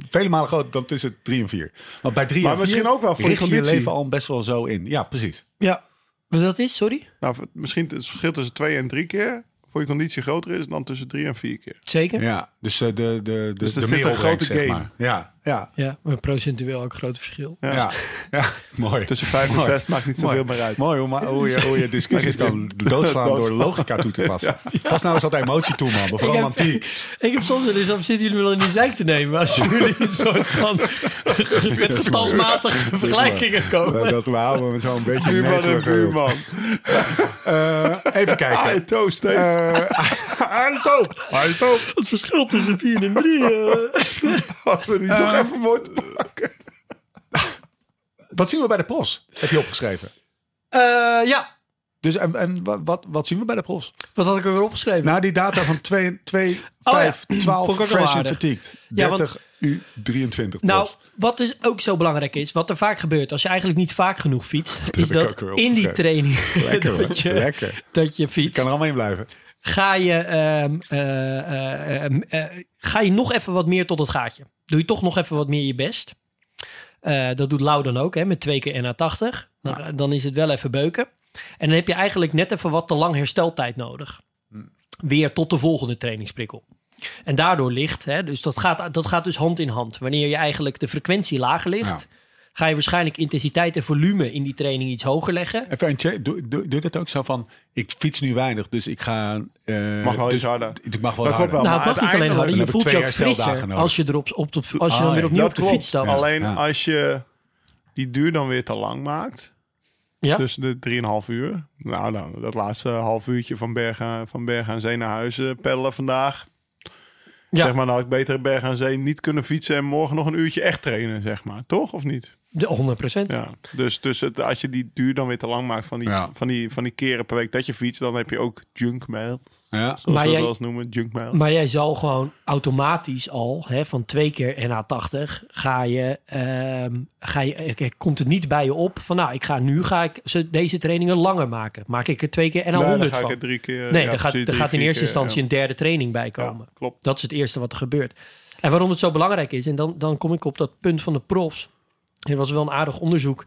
[SPEAKER 3] vele malen groter dan tussen 3 en 4. Want bij 3
[SPEAKER 4] Maar
[SPEAKER 3] en 4
[SPEAKER 4] misschien ook wel voor je
[SPEAKER 3] richt je je
[SPEAKER 4] conditie.
[SPEAKER 3] leven al best wel zo in. Ja, precies.
[SPEAKER 5] Ja. Wat dat is, sorry?
[SPEAKER 4] Nou, misschien het verschil tussen twee en drie keer voor je conditie groter is dan tussen drie en vier keer.
[SPEAKER 5] Zeker.
[SPEAKER 3] Ja, dus eh, de, de, de,
[SPEAKER 4] er
[SPEAKER 3] de
[SPEAKER 4] zit een
[SPEAKER 3] merel
[SPEAKER 4] grote
[SPEAKER 3] zeg
[SPEAKER 4] game.
[SPEAKER 3] maar. Ja, ja,
[SPEAKER 5] Ja, maar procentueel ook een groot verschil.
[SPEAKER 3] ja.
[SPEAKER 4] <laughs>
[SPEAKER 3] ja. mooi.
[SPEAKER 4] Tussen vijf en
[SPEAKER 3] Mooi.
[SPEAKER 4] zes maakt niet zoveel meer uit.
[SPEAKER 3] Mooi hoe, ma- hoe, je,
[SPEAKER 4] <laughs>
[SPEAKER 3] hoe je discussies kan doodslaan door
[SPEAKER 4] Doodslaan.
[SPEAKER 3] logica toe te passen. Pas nou eens wat emotie toe, man. Of
[SPEAKER 5] Ik
[SPEAKER 3] romantiek.
[SPEAKER 5] heb, <laughs> ik heb soms wel eens af zitten jullie me dan in de zijk te nemen als jullie
[SPEAKER 3] <laughs>
[SPEAKER 5] een soort van met getalsmatige vergelijkingen
[SPEAKER 3] Ja,
[SPEAKER 5] komen.
[SPEAKER 3] Eh, Dat we houden met zo'n beetje
[SPEAKER 4] Oh, Buurman en
[SPEAKER 3] netelige-
[SPEAKER 4] buurman.
[SPEAKER 3] Eh, even kijken. Eh,
[SPEAKER 4] Aito, Steve.
[SPEAKER 3] Anto! Anto!
[SPEAKER 5] Het verschil tussen 4 en eh. 3.
[SPEAKER 4] Als
[SPEAKER 3] eh,
[SPEAKER 4] we die toch even mooi te pakken.
[SPEAKER 3] <laughs> Wat zien we bij de profs? Heb je opgeschreven.
[SPEAKER 5] Eh, ja,
[SPEAKER 3] Dus en, en wa- wat, wat zien we bij de profs?
[SPEAKER 5] wat had ik ook weer opgeschreven?
[SPEAKER 3] Nou, die data van 2, 2
[SPEAKER 5] Oh ja.
[SPEAKER 3] 5,
[SPEAKER 5] Vond
[SPEAKER 3] 12,
[SPEAKER 5] ik ook wel
[SPEAKER 3] fresh and
[SPEAKER 5] aardig.
[SPEAKER 3] fatigued.
[SPEAKER 5] Ja, want-
[SPEAKER 3] 30 u 23
[SPEAKER 5] Nou,
[SPEAKER 3] profs.
[SPEAKER 5] wat dus ook zo belangrijk is, wat er vaak gebeurt als je eigenlijk niet vaak genoeg fietst, is
[SPEAKER 3] ik ook
[SPEAKER 5] dat
[SPEAKER 3] weer
[SPEAKER 5] in die
[SPEAKER 3] opgeschreven.
[SPEAKER 5] training
[SPEAKER 3] Lekker,
[SPEAKER 5] <laughs> dat,
[SPEAKER 3] hoor.
[SPEAKER 5] je,
[SPEAKER 3] Lekker.
[SPEAKER 5] dat je
[SPEAKER 3] Ik kan
[SPEAKER 5] fietst,
[SPEAKER 3] er allemaal in blijven.
[SPEAKER 5] ga je, ehm, eh, eh, ehm, eh, ga je nog even wat meer tot het gaatje. Doe je toch nog even wat meer je best. Eh, dat doet Lau dan ook, hè, met twee keer NA80. Dan, dan is het wel even beuken. En dan heb je eigenlijk net even wat te lang hersteltijd nodig. Weer tot de volgende trainingsprikkel. En daardoor ligt, hè, dus dat gaat, dat gaat dus hand in hand. Wanneer je eigenlijk de frequentie lager ligt, ga je waarschijnlijk intensiteit en volume in die training iets hoger leggen.
[SPEAKER 3] Even een check. Doe, doe, doe dat ook zo van, ik fiets nu weinig, dus ik ga... eh,
[SPEAKER 4] Mag wel
[SPEAKER 3] dus,
[SPEAKER 4] iets harder.
[SPEAKER 3] Ik mag wel harder.
[SPEAKER 4] Dat klopt wel.
[SPEAKER 5] Nou, het
[SPEAKER 4] Maar
[SPEAKER 5] mag niet alleen harder.
[SPEAKER 3] dan
[SPEAKER 5] Je
[SPEAKER 3] heb ik
[SPEAKER 5] voelt je
[SPEAKER 3] twee
[SPEAKER 5] ook
[SPEAKER 3] hersteldagen
[SPEAKER 5] frisser
[SPEAKER 3] nodig.
[SPEAKER 5] als je, erop, op de, als je
[SPEAKER 3] Ah,
[SPEAKER 5] dan weer
[SPEAKER 3] ja,
[SPEAKER 5] opnieuw
[SPEAKER 4] Dat
[SPEAKER 5] op de
[SPEAKER 4] klopt.
[SPEAKER 5] fiets stapt.
[SPEAKER 4] Alleen
[SPEAKER 3] Ja.
[SPEAKER 4] als je die duur dan weer te lang maakt.
[SPEAKER 5] Ja.
[SPEAKER 4] Dus de 3,5 uur. Nou, dan dat laatste half uurtje van Bergen, van Bergen aan Zee naar huis eh, peddelen vandaag.
[SPEAKER 5] Ja.
[SPEAKER 4] Zeg maar, nou had ik beter Bergen aan Zee niet kunnen fietsen en morgen nog een uurtje echt trainen, zeg maar. Toch of niet?
[SPEAKER 5] De 100 procent.
[SPEAKER 4] Ja, dus, dus het, als je die duur dan weer te lang maakt van die,
[SPEAKER 1] Ja.
[SPEAKER 4] van, die, van die keren per week dat je fietst, dan heb je ook junkmail.
[SPEAKER 1] Ja.
[SPEAKER 4] Zoals
[SPEAKER 5] Maar
[SPEAKER 4] we
[SPEAKER 5] jij-
[SPEAKER 4] dat wel eens noemen, junkmail.
[SPEAKER 5] Maar jij zal gewoon automatisch al hè, van twee keer NA80 ga je, ehm, ga je, eh, komt het niet bij je op van nou, ik ga nu ga ik ze- deze trainingen langer maken. Maak ik er twee keer
[SPEAKER 4] Nee, dan
[SPEAKER 5] NA100
[SPEAKER 4] ga ik
[SPEAKER 5] van.
[SPEAKER 4] er drie keer.
[SPEAKER 5] Nee,
[SPEAKER 4] ja,
[SPEAKER 5] er gaat,
[SPEAKER 4] precies,
[SPEAKER 5] er
[SPEAKER 4] drie,
[SPEAKER 5] gaat in
[SPEAKER 4] vier
[SPEAKER 5] eerste
[SPEAKER 4] keer,
[SPEAKER 5] instantie
[SPEAKER 4] ja.
[SPEAKER 5] een derde training bij
[SPEAKER 4] Ja,
[SPEAKER 5] komen.
[SPEAKER 4] klopt.
[SPEAKER 5] Dat is het eerste wat er gebeurt. En waarom het zo belangrijk is, en dan, dan kom ik op dat punt van de profs. Er was wel een aardig onderzoek.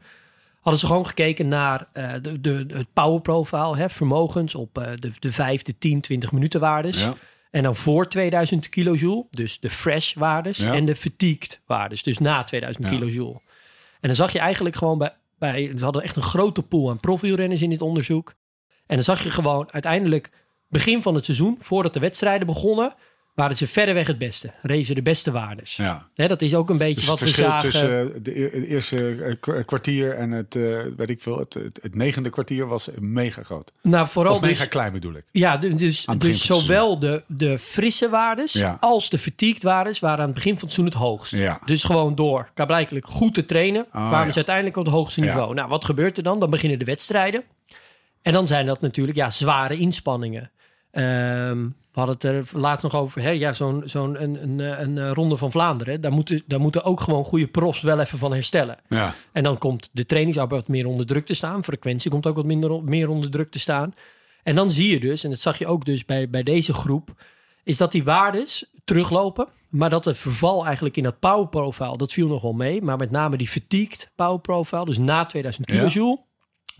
[SPEAKER 5] Hadden ze gewoon gekeken naar eh, de, de, de- het power profile, hè, vermogens op eh, de, de 5, de 10, 20 minuten waardes.
[SPEAKER 1] Ja.
[SPEAKER 5] En dan voor 2000 kilojoule, dus de fresh waardes
[SPEAKER 1] Ja.
[SPEAKER 5] en de fatigued waardes, dus na 2000
[SPEAKER 1] Ja.
[SPEAKER 5] kilojoule. En dan zag je eigenlijk gewoon bij, bij, ze hadden echt een grote pool aan profielrenners in dit onderzoek. En dan zag je gewoon uiteindelijk begin van het seizoen, voordat de wedstrijden begonnen, waren ze verreweg het beste. Rezen de beste waardes.
[SPEAKER 1] Ja.
[SPEAKER 5] Hè, dat is ook een beetje
[SPEAKER 3] Dus het
[SPEAKER 5] wat we
[SPEAKER 3] verschil
[SPEAKER 5] zagen.
[SPEAKER 3] tussen eh, de, eer- het eerste eh, kwa- kwartier en het, eh, weet ik veel, het, het, het negende kwartier was mega groot.
[SPEAKER 5] nou, vooral
[SPEAKER 3] Of mega
[SPEAKER 5] dus-
[SPEAKER 3] klein bedoel ik.
[SPEAKER 5] Ja, du- dus,
[SPEAKER 3] Aan het begin
[SPEAKER 5] dus
[SPEAKER 3] van het
[SPEAKER 5] zowel de, de frisse waardes
[SPEAKER 1] Ja.
[SPEAKER 5] als de fatigued waardes waren aan het begin van het seizoen het hoogst.
[SPEAKER 1] Ja.
[SPEAKER 5] Dus gewoon door blijkbaar goed te trainen, kwamen
[SPEAKER 1] ja.
[SPEAKER 5] ze uiteindelijk op het hoogste niveau. Nou, wat gebeurt er dan? Dan beginnen de wedstrijden. En dan zijn dat natuurlijk ja, zware inspanningen. Ehm, we hadden het er laatst nog over. Hè? Ja, zo'n zo'n een, een, eh, een, eh, ronde van Vlaanderen. Daar moeten, daar moeten ook gewoon goede profs wel even van herstellen.
[SPEAKER 1] Ja.
[SPEAKER 5] En dan komt de trainingsarbeid wat meer onder druk te staan. Frequentie komt ook wat minder, on- meer onder druk te staan. En dan zie je dus, en dat zag je ook dus bij, bij deze groep, is dat die waardes teruglopen. Maar dat het verval eigenlijk in dat power profile, dat viel nog wel mee. Maar met name die fatigued power profile, dus na 2000
[SPEAKER 1] Ja.
[SPEAKER 5] kilojoule,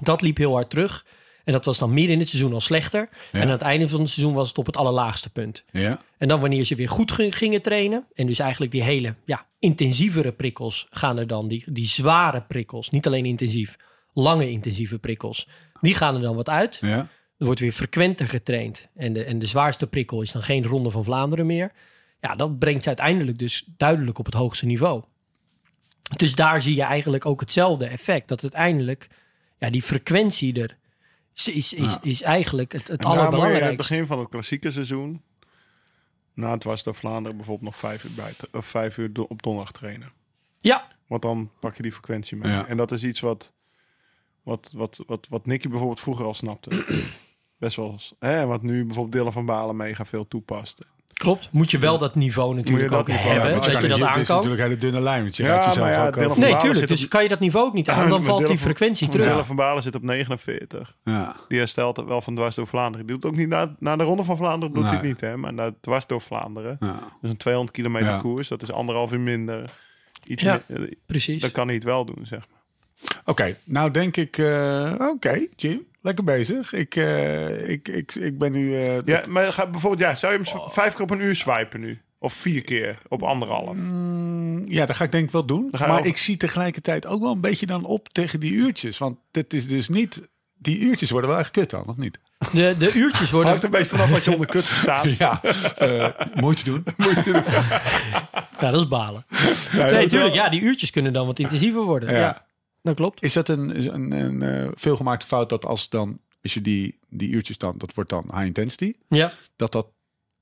[SPEAKER 5] dat liep heel hard terug. En dat was dan midden in het seizoen al slechter. En aan het einde van het seizoen was het op het allerlaagste punt.
[SPEAKER 1] Ja.
[SPEAKER 5] En dan wanneer ze weer goed ging- gingen trainen. En dus eigenlijk die hele ja, intensievere prikkels gaan er dan. Die, die zware prikkels. Niet alleen intensief. Lange intensieve prikkels. Die gaan er dan wat uit.
[SPEAKER 1] Ja.
[SPEAKER 5] Er wordt weer frequenter getraind. En de, en de zwaarste prikkel is dan geen Ronde van Vlaanderen meer. Ja, dat brengt ze uiteindelijk dus duidelijk op het hoogste niveau. Dus daar zie je eigenlijk ook hetzelfde effect. Dat uiteindelijk ja, die frequentie er is, is, is, is eigenlijk het, het
[SPEAKER 4] En daarom moet je
[SPEAKER 5] allerbelangrijkste.
[SPEAKER 4] aan het begin van het klassieke seizoen, na het was door Vlaanderen bijvoorbeeld nog vijf uur, bij, of vijf uur do- op donderdag trainen.
[SPEAKER 5] Ja,
[SPEAKER 4] Want dan pak je die frequentie mee.
[SPEAKER 1] Ja.
[SPEAKER 4] En dat is iets wat, wat, wat, wat, wat Nicky bijvoorbeeld vroeger al snapte. <clears throat> Best wel. eens, Hè, wat nu bijvoorbeeld Dylan van Balen mega veel toepast.
[SPEAKER 5] Klopt. Moet je wel dat niveau natuurlijk
[SPEAKER 4] dat
[SPEAKER 5] ook
[SPEAKER 4] niveau
[SPEAKER 5] hebben.
[SPEAKER 4] hebben.
[SPEAKER 5] dat je
[SPEAKER 3] het
[SPEAKER 5] dat aan
[SPEAKER 3] is
[SPEAKER 5] kan.
[SPEAKER 3] natuurlijk een hele dunne lijn, want je
[SPEAKER 4] Ja,
[SPEAKER 3] gaat
[SPEAKER 4] maar
[SPEAKER 3] jezelf
[SPEAKER 4] ja,
[SPEAKER 3] ook eh,
[SPEAKER 4] Dylan
[SPEAKER 3] over.
[SPEAKER 4] van
[SPEAKER 5] Nee,
[SPEAKER 4] Balen
[SPEAKER 5] tuurlijk.
[SPEAKER 4] zit op-
[SPEAKER 5] Dus kan je dat niveau ook niet <laughs> aan. Dan
[SPEAKER 4] Maar
[SPEAKER 5] valt die
[SPEAKER 4] Dylan van-
[SPEAKER 5] frequentie
[SPEAKER 4] Dylan
[SPEAKER 5] terug.
[SPEAKER 4] van Balen zit op 49.
[SPEAKER 1] Ja.
[SPEAKER 4] Die herstelt het wel van dwars door Vlaanderen. Die doet ook niet na, na de Ronde van Vlaanderen, doet
[SPEAKER 1] Nee.
[SPEAKER 4] hij het niet, hè? Maar na dwars door Vlaanderen.
[SPEAKER 1] Ja.
[SPEAKER 4] Dus een 200 kilometer
[SPEAKER 1] Ja.
[SPEAKER 4] koers, dat is anderhalf uur minder. Iets
[SPEAKER 5] Ja.
[SPEAKER 4] meer- eh,
[SPEAKER 5] Precies.
[SPEAKER 4] dat kan hij het wel doen, zeg maar.
[SPEAKER 3] Oké, nou denk ik, eh, oké, Jim, lekker bezig. Ik, eh, ik, ik, ik ben nu... eh,
[SPEAKER 4] Ja, maar ga, bijvoorbeeld, ja, zou je hem z-
[SPEAKER 1] Oh.
[SPEAKER 4] vijf keer op een uur swipen nu? Of vier keer op anderhalf?
[SPEAKER 1] Mm.
[SPEAKER 3] mm, Ja, dat ga ik denk ik wel doen.
[SPEAKER 4] ga je
[SPEAKER 3] Maar
[SPEAKER 4] over.
[SPEAKER 3] ik zie tegelijkertijd ook wel een beetje dan op tegen die uurtjes. Want dit is dus niet... Die uurtjes worden wel echt kut dan, of niet?
[SPEAKER 5] De, de <laughs> uurtjes worden...
[SPEAKER 4] Hangt een beetje vanaf wat je onder kut
[SPEAKER 1] <laughs>
[SPEAKER 4] verstaat.
[SPEAKER 3] <laughs> Ja, moeite Eh, doen.
[SPEAKER 4] <laughs>
[SPEAKER 5] <laughs> Ja, dat is balen. nee, tuurlijk. Ja, die uurtjes kunnen dan wat intensiever worden. Ja,
[SPEAKER 3] Ja.
[SPEAKER 5] dat klopt.
[SPEAKER 3] Is dat een, is een, een eh, veelgemaakte fout dat als dan... Als je die, die uurtjes dan... Dat wordt dan high intensity.
[SPEAKER 5] Ja.
[SPEAKER 3] Dat dat...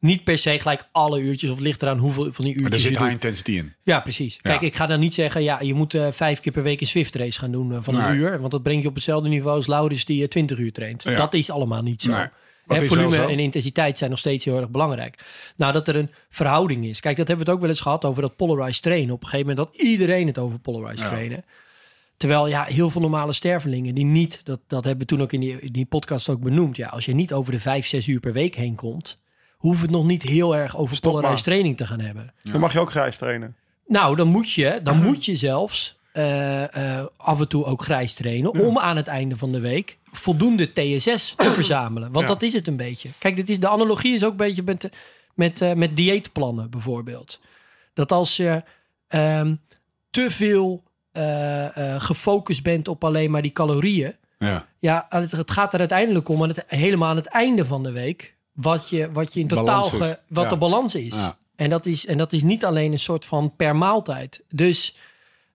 [SPEAKER 5] Niet per se gelijk alle uurtjes. Of het ligt eraan hoeveel van die uurtjes
[SPEAKER 3] Er zit
[SPEAKER 5] je
[SPEAKER 3] high
[SPEAKER 5] doet.
[SPEAKER 3] intensity in.
[SPEAKER 5] Ja, precies. Kijk, ik ga dan niet zeggen... Ja, je moet eh, vijf keer per week een Swift race gaan doen eh, van een
[SPEAKER 1] Nee.
[SPEAKER 5] uur. Want dat brengt je op hetzelfde niveau als Laurens die eh, 20 uur traint. Dat is allemaal niet zo.
[SPEAKER 1] Nee.
[SPEAKER 5] Hè,
[SPEAKER 3] is wel
[SPEAKER 5] volume
[SPEAKER 3] zo.
[SPEAKER 5] en intensiteit zijn nog steeds heel erg belangrijk. Nou, dat er een verhouding is. Kijk, dat hebben we het ook wel eens gehad over dat polarized trainen. Op een gegeven moment had iedereen het over polarized trainen. Terwijl ja, heel veel normale stervelingen die niet, dat, dat hebben we toen ook in die, in die podcast ook benoemd. Ja, als je niet over de vijf, zes uur per week heen komt, hoeft het nog niet heel erg over polarized
[SPEAKER 4] maar.
[SPEAKER 5] training te gaan hebben.
[SPEAKER 4] Dan mag je ook grijs trainen.
[SPEAKER 5] Nou, dan moet je, dan moet je zelfs eh, eh, af en toe ook grijs trainen. Om aan het einde van de week voldoende TSS te verzamelen. Want dat is het een beetje. Kijk, dit is, de analogie is ook een beetje met, de- met, eh, met dieetplannen bijvoorbeeld. Dat als je ehm, te veel eh, eh, gefocust bent op alleen maar die calorieën.
[SPEAKER 1] Ja.
[SPEAKER 5] Ja, aan het, het gaat er uiteindelijk om, aan het, helemaal aan het einde van de week, wat je, wat je in totaal,
[SPEAKER 3] Balans is.
[SPEAKER 5] ge- wat
[SPEAKER 3] Ja.
[SPEAKER 5] de balans is.
[SPEAKER 1] Ja.
[SPEAKER 5] En, dat is. en dat is niet alleen een soort van per maaltijd. Dus,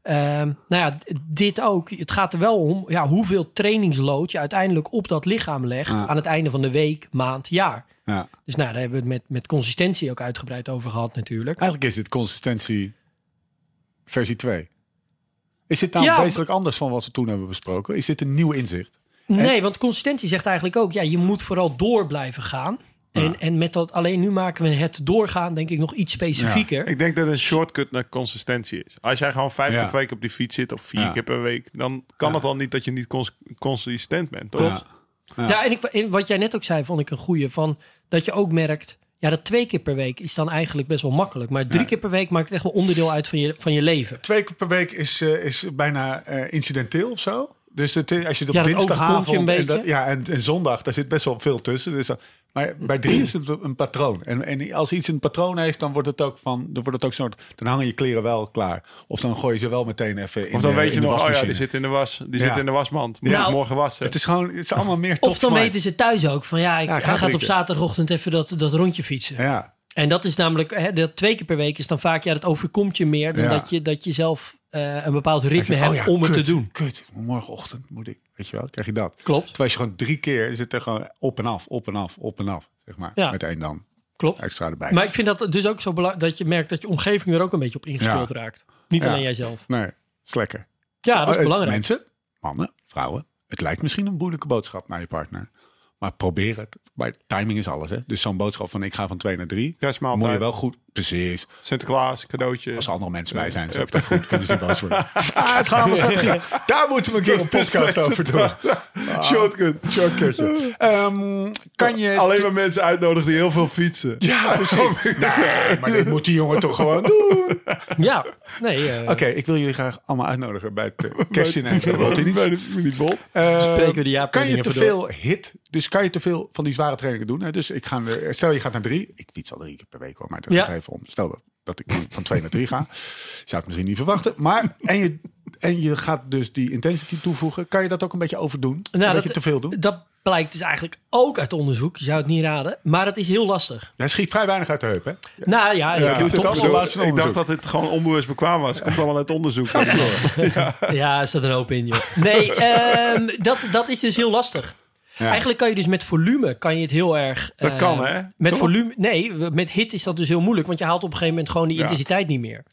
[SPEAKER 5] ehm, nou ja, d- dit ook. Het gaat er wel om ja, hoeveel trainingslood je uiteindelijk op dat lichaam legt aan het einde van de week, maand, jaar.
[SPEAKER 1] Ja.
[SPEAKER 5] Dus nou, daar hebben we het met, met consistentie ook uitgebreid over gehad natuurlijk.
[SPEAKER 3] Eigenlijk is dit consistentie versie 2. Is Is dit nou
[SPEAKER 5] Ja,
[SPEAKER 3] wezenlijk anders van wat we toen hebben besproken? Is dit een nieuw inzicht?
[SPEAKER 5] Nee, want consistentie zegt eigenlijk ook, ja, je moet vooral door blijven gaan. En, en met dat alleen nu maken we het doorgaan, denk ik, nog iets specifieker.
[SPEAKER 4] Ik denk dat het een shortcut naar consistentie is. Als jij gewoon vijf
[SPEAKER 3] Ja.
[SPEAKER 4] keer per week op die fiets zit of vier
[SPEAKER 3] Ja.
[SPEAKER 4] keer per week, dan kan het al niet dat je niet cons- consistent bent, toch?
[SPEAKER 3] Ja.
[SPEAKER 5] Ja, en, ik, en wat jij net ook zei, vond ik een goeie. Van, dat je ook merkt, ja, dat twee keer per week is dan eigenlijk best wel makkelijk. Maar drie keer per week maakt het echt wel onderdeel uit van je, van je leven.
[SPEAKER 3] Twee keer per week is, eh, is bijna eh, incidenteel of zo. Dus het, is- als je het op
[SPEAKER 5] Ja, dat
[SPEAKER 3] dinsdagavond
[SPEAKER 5] overkomt je een
[SPEAKER 3] en
[SPEAKER 5] beetje.
[SPEAKER 3] dat- ja, en, en zondag, daar zit best wel veel tussen. Dus dat- maar bij drie is het een patroon. En, en als iets een patroon heeft, dan wordt het ook van, dan wordt het ook soort, dan hangen je kleren wel klaar. Of dan gooi je ze wel meteen even in
[SPEAKER 4] Of dan
[SPEAKER 3] de,
[SPEAKER 4] weet
[SPEAKER 3] in
[SPEAKER 4] je
[SPEAKER 3] de
[SPEAKER 4] nog, oh ja,
[SPEAKER 3] wasmachine.
[SPEAKER 4] die zit in de was, die
[SPEAKER 3] Ja.
[SPEAKER 4] zit in de wasmand, moet
[SPEAKER 3] Ja.
[SPEAKER 4] ik morgen wassen.
[SPEAKER 3] Het is gewoon, het is allemaal meer top
[SPEAKER 5] Of dan weten ze thuis ook van, ja, ik,
[SPEAKER 3] Ja, ga
[SPEAKER 5] hij gaat
[SPEAKER 3] drie
[SPEAKER 5] op
[SPEAKER 3] keer.
[SPEAKER 5] zaterdagochtend even dat, dat rondje fietsen.
[SPEAKER 3] Ja,
[SPEAKER 5] En dat is namelijk, hè, dat twee keer per week is dan vaak, ja, dat overkomt je meer dan
[SPEAKER 3] Ja.
[SPEAKER 5] dat, je, dat je zelf eh, een bepaald
[SPEAKER 3] Hij
[SPEAKER 5] ritme
[SPEAKER 3] zegt,
[SPEAKER 5] hebt
[SPEAKER 3] oh ja,
[SPEAKER 5] om het te
[SPEAKER 3] kut,
[SPEAKER 5] doen.
[SPEAKER 3] Kut, morgenochtend moet ik, weet je wel, krijg je dat.
[SPEAKER 5] Klopt.
[SPEAKER 3] Terwijl als je gewoon drie keer zit er gewoon op en af, op en af, op en af, zeg maar.
[SPEAKER 5] Ja.
[SPEAKER 3] Met één dan
[SPEAKER 5] Klopt.
[SPEAKER 3] extra erbij.
[SPEAKER 5] Maar ik vind dat dus ook zo belangrijk dat je merkt dat je omgeving er ook een beetje op ingespeeld
[SPEAKER 3] Ja.
[SPEAKER 5] raakt. Niet
[SPEAKER 3] Ja.
[SPEAKER 5] alleen jijzelf.
[SPEAKER 3] Nee, is lekker.
[SPEAKER 5] Ja, dat
[SPEAKER 3] Oh,
[SPEAKER 5] is
[SPEAKER 3] eh,
[SPEAKER 5] belangrijk.
[SPEAKER 3] Mensen, mannen, vrouwen. Het lijkt misschien een moeilijke boodschap naar je partner. Maar probeer het. Maar timing is alles, hè? Dus zo'n boodschap van ik ga van twee naar drie.
[SPEAKER 4] Ja, is maaltijd.
[SPEAKER 3] moet je wel goed. Precies.
[SPEAKER 4] Sinterklaas, cadeautje.
[SPEAKER 3] Als er andere mensen bij zijn, is ook dat goed. Kunnen ze boos
[SPEAKER 4] <laughs>
[SPEAKER 3] worden. Ah, het is gewoon allemaal strategie. Daar moeten we een keer een podcast over
[SPEAKER 4] <laughs>
[SPEAKER 3] doen.
[SPEAKER 4] Shortcut.
[SPEAKER 3] Shortcutje. Ehm, kan je...
[SPEAKER 4] Alleen maar mensen uitnodigen die heel veel fietsen.
[SPEAKER 3] Ja, precies. Nee, maar dit moet die jongen toch gewoon
[SPEAKER 4] <laughs>
[SPEAKER 3] doen.
[SPEAKER 5] Ja, nee. eh,
[SPEAKER 3] Oké, ik wil jullie graag allemaal uitnodigen bij het eh, kerstdiner.
[SPEAKER 4] bij de familie Bolt.
[SPEAKER 3] Eh,
[SPEAKER 5] Spreken we die
[SPEAKER 3] kan je
[SPEAKER 5] jaarplanningen
[SPEAKER 3] te
[SPEAKER 5] voor
[SPEAKER 3] veel hit, dus kan je te veel van die zware trainingen doen. Hè? Dus ik ga, eh, stel je gaat naar drie, ik fiets al drie keer per week hoor, maar dat
[SPEAKER 5] Ja.
[SPEAKER 3] gaat even om. Stel dat, dat ik van twee naar drie ga, zou ik misschien niet verwachten. Maar en je, en je gaat dus die intensity toevoegen, kan je dat ook een beetje overdoen?
[SPEAKER 5] nou,
[SPEAKER 3] een beetje te veel doen?
[SPEAKER 5] Dat blijkt dus eigenlijk ook uit onderzoek. Je zou het niet raden. Maar het is heel lastig.
[SPEAKER 3] Hij schiet vrij weinig uit de heup, hè?
[SPEAKER 5] Nou ja, ja,
[SPEAKER 3] doet het
[SPEAKER 5] top-
[SPEAKER 3] allemaal
[SPEAKER 5] top-
[SPEAKER 3] laatste
[SPEAKER 4] ik dacht
[SPEAKER 3] onderzoek.
[SPEAKER 4] dat dit gewoon onbewust bekwaam was. Komt allemaal uit onderzoek.
[SPEAKER 5] Ja, er staat een hoop in, joh. Nee, ehm, dat, dat is dus heel lastig. Eigenlijk kan je dus met volume kan je het heel erg...
[SPEAKER 4] Dat
[SPEAKER 5] eh,
[SPEAKER 4] kan, hè?
[SPEAKER 5] Met
[SPEAKER 4] Toch?
[SPEAKER 5] volume... Nee, met hit is dat dus heel moeilijk. Want je haalt op een gegeven moment gewoon die intensiteit niet meer.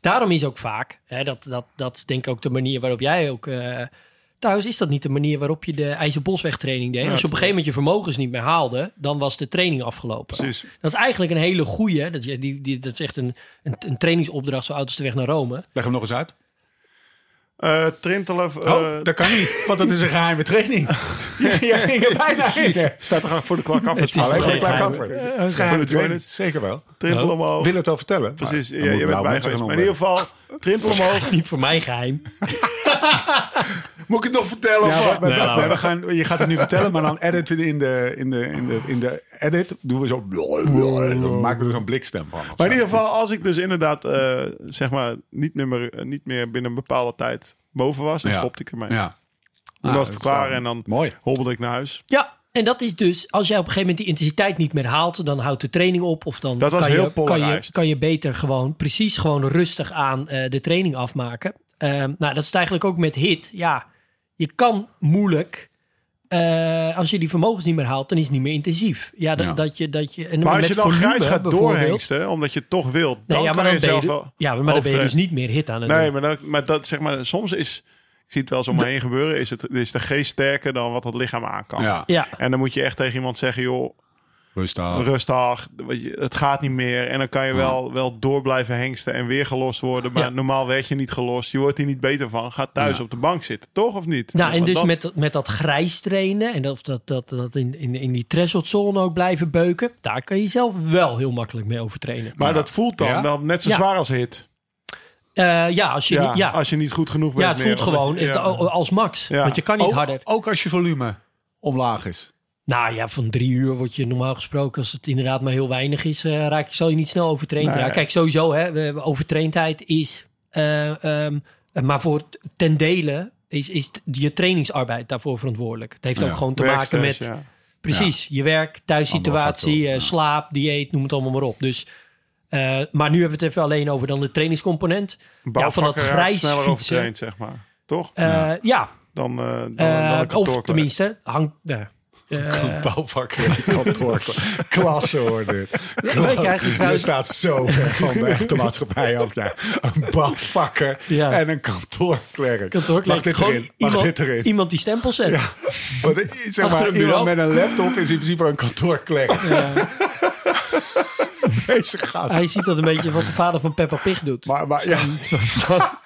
[SPEAKER 5] Daarom is ook vaak... Hè, dat, dat, dat is denk ik ook de manier waarop jij ook... eh, trouwens, is dat niet de manier waarop je de IJzerboswegtraining deed? Als je op een gegeven moment je vermogens niet meer haalde... dan was de training afgelopen.
[SPEAKER 4] Precies.
[SPEAKER 5] Dat is eigenlijk een hele goeie. Dat, je- die, die, dat is echt een, een, een trainingsopdracht zo oud als de weg naar Rome.
[SPEAKER 3] Leg hem nog eens uit.
[SPEAKER 4] Eh Trintelen. eh,
[SPEAKER 3] Oh, dat kan niet, want dat is een geheime
[SPEAKER 5] <laughs>
[SPEAKER 3] training. Jij ging er bijna in. Staat er gewoon voor de klak
[SPEAKER 4] <laughs>
[SPEAKER 3] af. Het
[SPEAKER 5] is
[SPEAKER 3] alleen
[SPEAKER 5] nog
[SPEAKER 3] voor de
[SPEAKER 5] geen
[SPEAKER 3] klak af.
[SPEAKER 5] geheime-
[SPEAKER 3] Het is geheime training. Zeker wel.
[SPEAKER 4] Trintel omhoog.
[SPEAKER 3] Wil het al vertellen?
[SPEAKER 4] Precies,
[SPEAKER 3] Maar
[SPEAKER 4] ja,
[SPEAKER 3] dan moeten
[SPEAKER 4] je bent
[SPEAKER 3] blauwe mensen
[SPEAKER 4] bij
[SPEAKER 3] gaan
[SPEAKER 4] geweest. Maar in ieder geval,
[SPEAKER 3] <laughs>
[SPEAKER 4] Trintel omhoog.
[SPEAKER 5] Niet voor mijn geheim.
[SPEAKER 4] Moet ik het nog vertellen? of
[SPEAKER 3] Ja,
[SPEAKER 4] wat?
[SPEAKER 3] we, we-
[SPEAKER 5] Nee, laat
[SPEAKER 3] we gaan, je gaat het nu vertellen, maar dan edit we in de, in de, in de, in de edit. Doen we zo. Dan maken we er zo'n blikstem van.
[SPEAKER 4] Maar in ieder geval, als ik dus inderdaad eh, zeg maar niet meer, eh, niet meer binnen een bepaalde tijd boven was, dan stopte ik ermee.
[SPEAKER 3] Ja.
[SPEAKER 4] Dan
[SPEAKER 3] Ah,
[SPEAKER 4] was het
[SPEAKER 3] dat is
[SPEAKER 4] klaar
[SPEAKER 3] wel
[SPEAKER 4] en dan
[SPEAKER 3] mooi.
[SPEAKER 4] hobbelde ik naar huis.
[SPEAKER 5] Ja, en dat is dus, als jij op een gegeven moment die intensiteit niet meer haalt, dan houdt de training op. Of dan
[SPEAKER 4] Dat was
[SPEAKER 5] kan,
[SPEAKER 4] heel
[SPEAKER 5] je, kan, je,
[SPEAKER 4] polarized.
[SPEAKER 5] kan je beter gewoon precies gewoon rustig aan eh, de training afmaken. Ehm, nou, dat is het eigenlijk ook met hit. Ja, je kan moeilijk. eh, als je die vermogens niet meer haalt, dan is het niet meer intensief. Ja, dat,
[SPEAKER 3] Ja.
[SPEAKER 5] dat je. Dat je en
[SPEAKER 4] Maar als
[SPEAKER 5] met
[SPEAKER 4] je dan
[SPEAKER 5] volume
[SPEAKER 4] grijs gaat
[SPEAKER 5] bijvoorbeeld-
[SPEAKER 4] doorhengsten, omdat je het toch wilt, dan
[SPEAKER 5] Nee, ja,
[SPEAKER 4] kan
[SPEAKER 5] maar
[SPEAKER 4] je
[SPEAKER 5] dan ben je,
[SPEAKER 4] zelf
[SPEAKER 5] dus-
[SPEAKER 4] wel
[SPEAKER 5] ja, maar dan ben je dus
[SPEAKER 4] overtreden.
[SPEAKER 5] niet meer hit aan het
[SPEAKER 4] Nee,
[SPEAKER 5] doen.
[SPEAKER 4] maar, dat, maar dat zeg maar, soms is, ik zie het wel eens om me heen gebeuren, is, het, is de geest sterker dan wat het lichaam aan kan.
[SPEAKER 3] Ja.
[SPEAKER 5] Ja.
[SPEAKER 4] En dan moet je echt tegen iemand zeggen, joh,
[SPEAKER 3] Rustig.
[SPEAKER 4] rustig, weet je, het gaat niet meer. En dan kan je wel, wel door blijven hengsten en weer gelost worden. Maar
[SPEAKER 5] Ja.
[SPEAKER 4] normaal werd je niet gelost. Je wordt hier niet beter van. Ga thuis op de bank zitten, toch of niet?
[SPEAKER 5] Nou, en
[SPEAKER 4] want
[SPEAKER 5] dus
[SPEAKER 4] dan-
[SPEAKER 5] met, dat- met dat grijs trainen en dat, dat, dat, dat in, in, in die thresholdzone ook blijven beuken, daar kan je zelf wel heel makkelijk mee overtrainen.
[SPEAKER 4] Maar dat voelt dan
[SPEAKER 3] Ja?
[SPEAKER 4] wel net zo
[SPEAKER 5] Ja.
[SPEAKER 4] zwaar als hit.
[SPEAKER 5] Eh, ja, als je
[SPEAKER 4] Ja,
[SPEAKER 5] niet, ja,
[SPEAKER 4] Als je niet goed genoeg bent.
[SPEAKER 5] ja, het
[SPEAKER 4] meer,
[SPEAKER 5] voelt
[SPEAKER 4] of dat
[SPEAKER 5] gewoon
[SPEAKER 4] je- ja.
[SPEAKER 5] het- als max,
[SPEAKER 4] Ja. Oh.
[SPEAKER 5] want je kan niet harder.
[SPEAKER 3] Ook, ook als je volume omlaag is.
[SPEAKER 5] Nou ja, van drie uur word je normaal gesproken, als het inderdaad maar heel weinig is, eh, raak je, zal je niet snel overtraind
[SPEAKER 4] Nee.
[SPEAKER 5] raken. Kijk, sowieso, hè, we- we- overtraindheid is, eh, ehm, maar voor t- ten dele is, is t- je trainingsarbeid daarvoor verantwoordelijk. Het heeft
[SPEAKER 3] Ja.
[SPEAKER 5] ook gewoon te maken
[SPEAKER 4] Backstage,
[SPEAKER 5] met...
[SPEAKER 4] ja.
[SPEAKER 5] Precies, je werk, thuissituatie,
[SPEAKER 3] factoren,
[SPEAKER 5] eh, slaap, dieet, noem het allemaal maar op. Dus, eh, maar nu hebben we het even alleen over dan de trainingscomponent. Ja, van
[SPEAKER 4] Bouwvakker
[SPEAKER 5] dat
[SPEAKER 4] raakt
[SPEAKER 5] grijs
[SPEAKER 4] sneller
[SPEAKER 5] fietsen.
[SPEAKER 4] overtraind, zeg maar. Toch?
[SPEAKER 5] Eh, ja,
[SPEAKER 4] dan, eh dan, dan
[SPEAKER 5] eh,
[SPEAKER 4] een
[SPEAKER 5] of
[SPEAKER 4] kantoorklerk.
[SPEAKER 5] tenminste, hangt, eh,
[SPEAKER 3] <laughs> Bouwvakker kantoor. Klasse hoor dit.
[SPEAKER 5] Wij
[SPEAKER 4] <laughs>
[SPEAKER 5] krijgen
[SPEAKER 4] Nou,
[SPEAKER 3] Je
[SPEAKER 5] trouwens...
[SPEAKER 3] staat zo ver van de echte maatschappij af. Ja, een bouwvakker
[SPEAKER 5] Ja.
[SPEAKER 3] en een kantoorklerk.
[SPEAKER 5] Kantoorklerk,
[SPEAKER 3] Mag dit
[SPEAKER 5] gewoon
[SPEAKER 3] erin? Mag
[SPEAKER 5] iemand,
[SPEAKER 3] dit erin?
[SPEAKER 5] iemand die stempels zet.
[SPEAKER 3] Want, eh, zeg
[SPEAKER 5] Achter
[SPEAKER 3] maar,
[SPEAKER 5] een bureau.
[SPEAKER 3] iemand met een laptop is in principe een kantoorklerk. <laughs> Deze gast.
[SPEAKER 5] Hij ziet dat een beetje wat de vader van Peppa Pig doet.
[SPEAKER 3] Maar, maar,
[SPEAKER 5] <laughs>
[SPEAKER 3] ja,